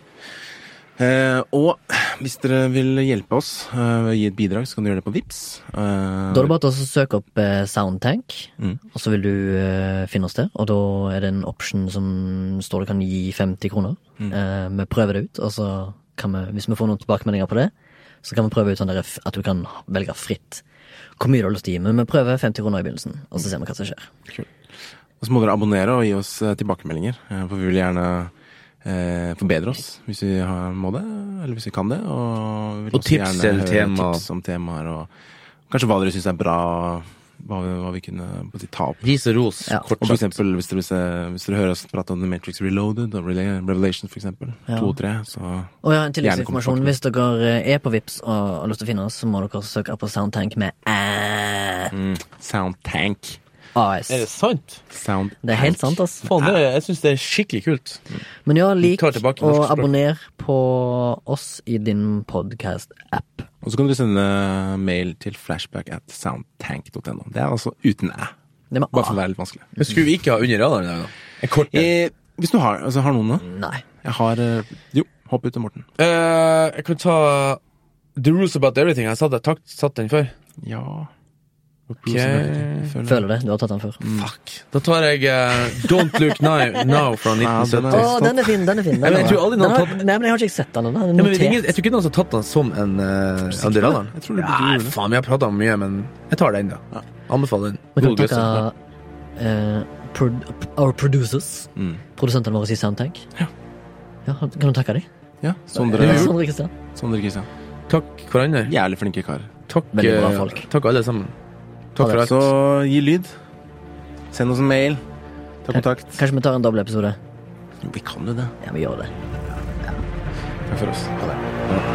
Eh, og hvis dere vil hjelpe oss eh, ved å gi et bidrag, så kan du gjøre det på Vips Eh, Da er det bare til å søke opp eh, Soundtank, Mm. og så vil du eh, finne oss der. Og da er det en option som står det kan gi 50 kroner. Mm. Eh, vi prøver det ut, og så kan vi, hvis vi får noen tilbakemeldinger på det, så kan vi prøve ut sånn der f- at du kan velge fritt hvor mye du har lyst til å gi. Men vi prøver 50 kroner i begynnelsen, og så ser vi hva som skjer. Og så må dere abonnere og gi oss eh, tilbakemeldinger, eh, for vi vil gjerne eh, forbedre oss hvis vi har, må det, eller hvis vi kan det. Og, vi vil Og også tips gjerne til høre tema. Tips om temaer, og kanskje hva dere syns er bra, hva vi, hva vi kunne på å si, ta opp. Ris og ros, Ja. kort Og for sagt. eksempel, hvis dere, vil se, hvis dere hører oss prate om The Matrix Reloaded og Rela- Revelation, for eksempel, Ja. to og tre, så Og ja, en Gjerne kom tilleggsinformasjon. tilbake. Hvis dere eh, er på Vips og eh, har lyst til å finne oss, så må dere søke på Soundtank med æ. mm, Soundtank. AS. Er det sant? Sound. Det er helt sant, ass. Faen, det, jeg syns det er skikkelig kult. Men ja, lik tar tilbake og norsk språk. abonner på oss i din podcast-app. Og så kan dere sende mail til flashback at soundtank.no. Det er altså uten æ. Det med Bare for å A. være litt vanskelig. Men skulle vi ikke ha under radaren der, da? En kort en. Eh, hvis du har, altså, har noen, da? Ah, Nei. Jeg har eh, Jo, hopp ut til Morten. Eh, jeg kan ta The Rules About Everything. Jeg har satt, jeg takt, satt den før. Ja Ok. Jeg føler- Føler det. Du har tatt den før. Fuck. Da tar jeg eh, Don't Look Now, now fra Ja, den 1970. er- Å, den er fin, den er fin. Den men er jeg bra. tror aldri den noen har, har nei, men jeg har ikke sett den ennå. Den Ja, er men jeg, vet ingen, notert. jeg tror ikke noen har tatt den som en eh, under radaren. Jeg tror det burde Nei, gjøre det. faen, vi har prata om mye, men jeg tar den, da. Anbefaler den. Vi kan God takke løsning. eh, prod our producers, Mm. produsentene våre i Soundtank. Ja. Ja, kan du takke dem? Ja, Sondre, Sondre Kristian. Sondre Kristian. Takk hverandre. Jævlig flinke kar. Takk, Veldig bra eh, folk. takk alle sammen. Takk for alt. Så gi lyd. Send oss en mail. Ta kontakt. Kanskje vi tar en dobbel episode? Jo, vi kan jo det. Ja, vi gjør det. Takk for oss. Ha det. Ja.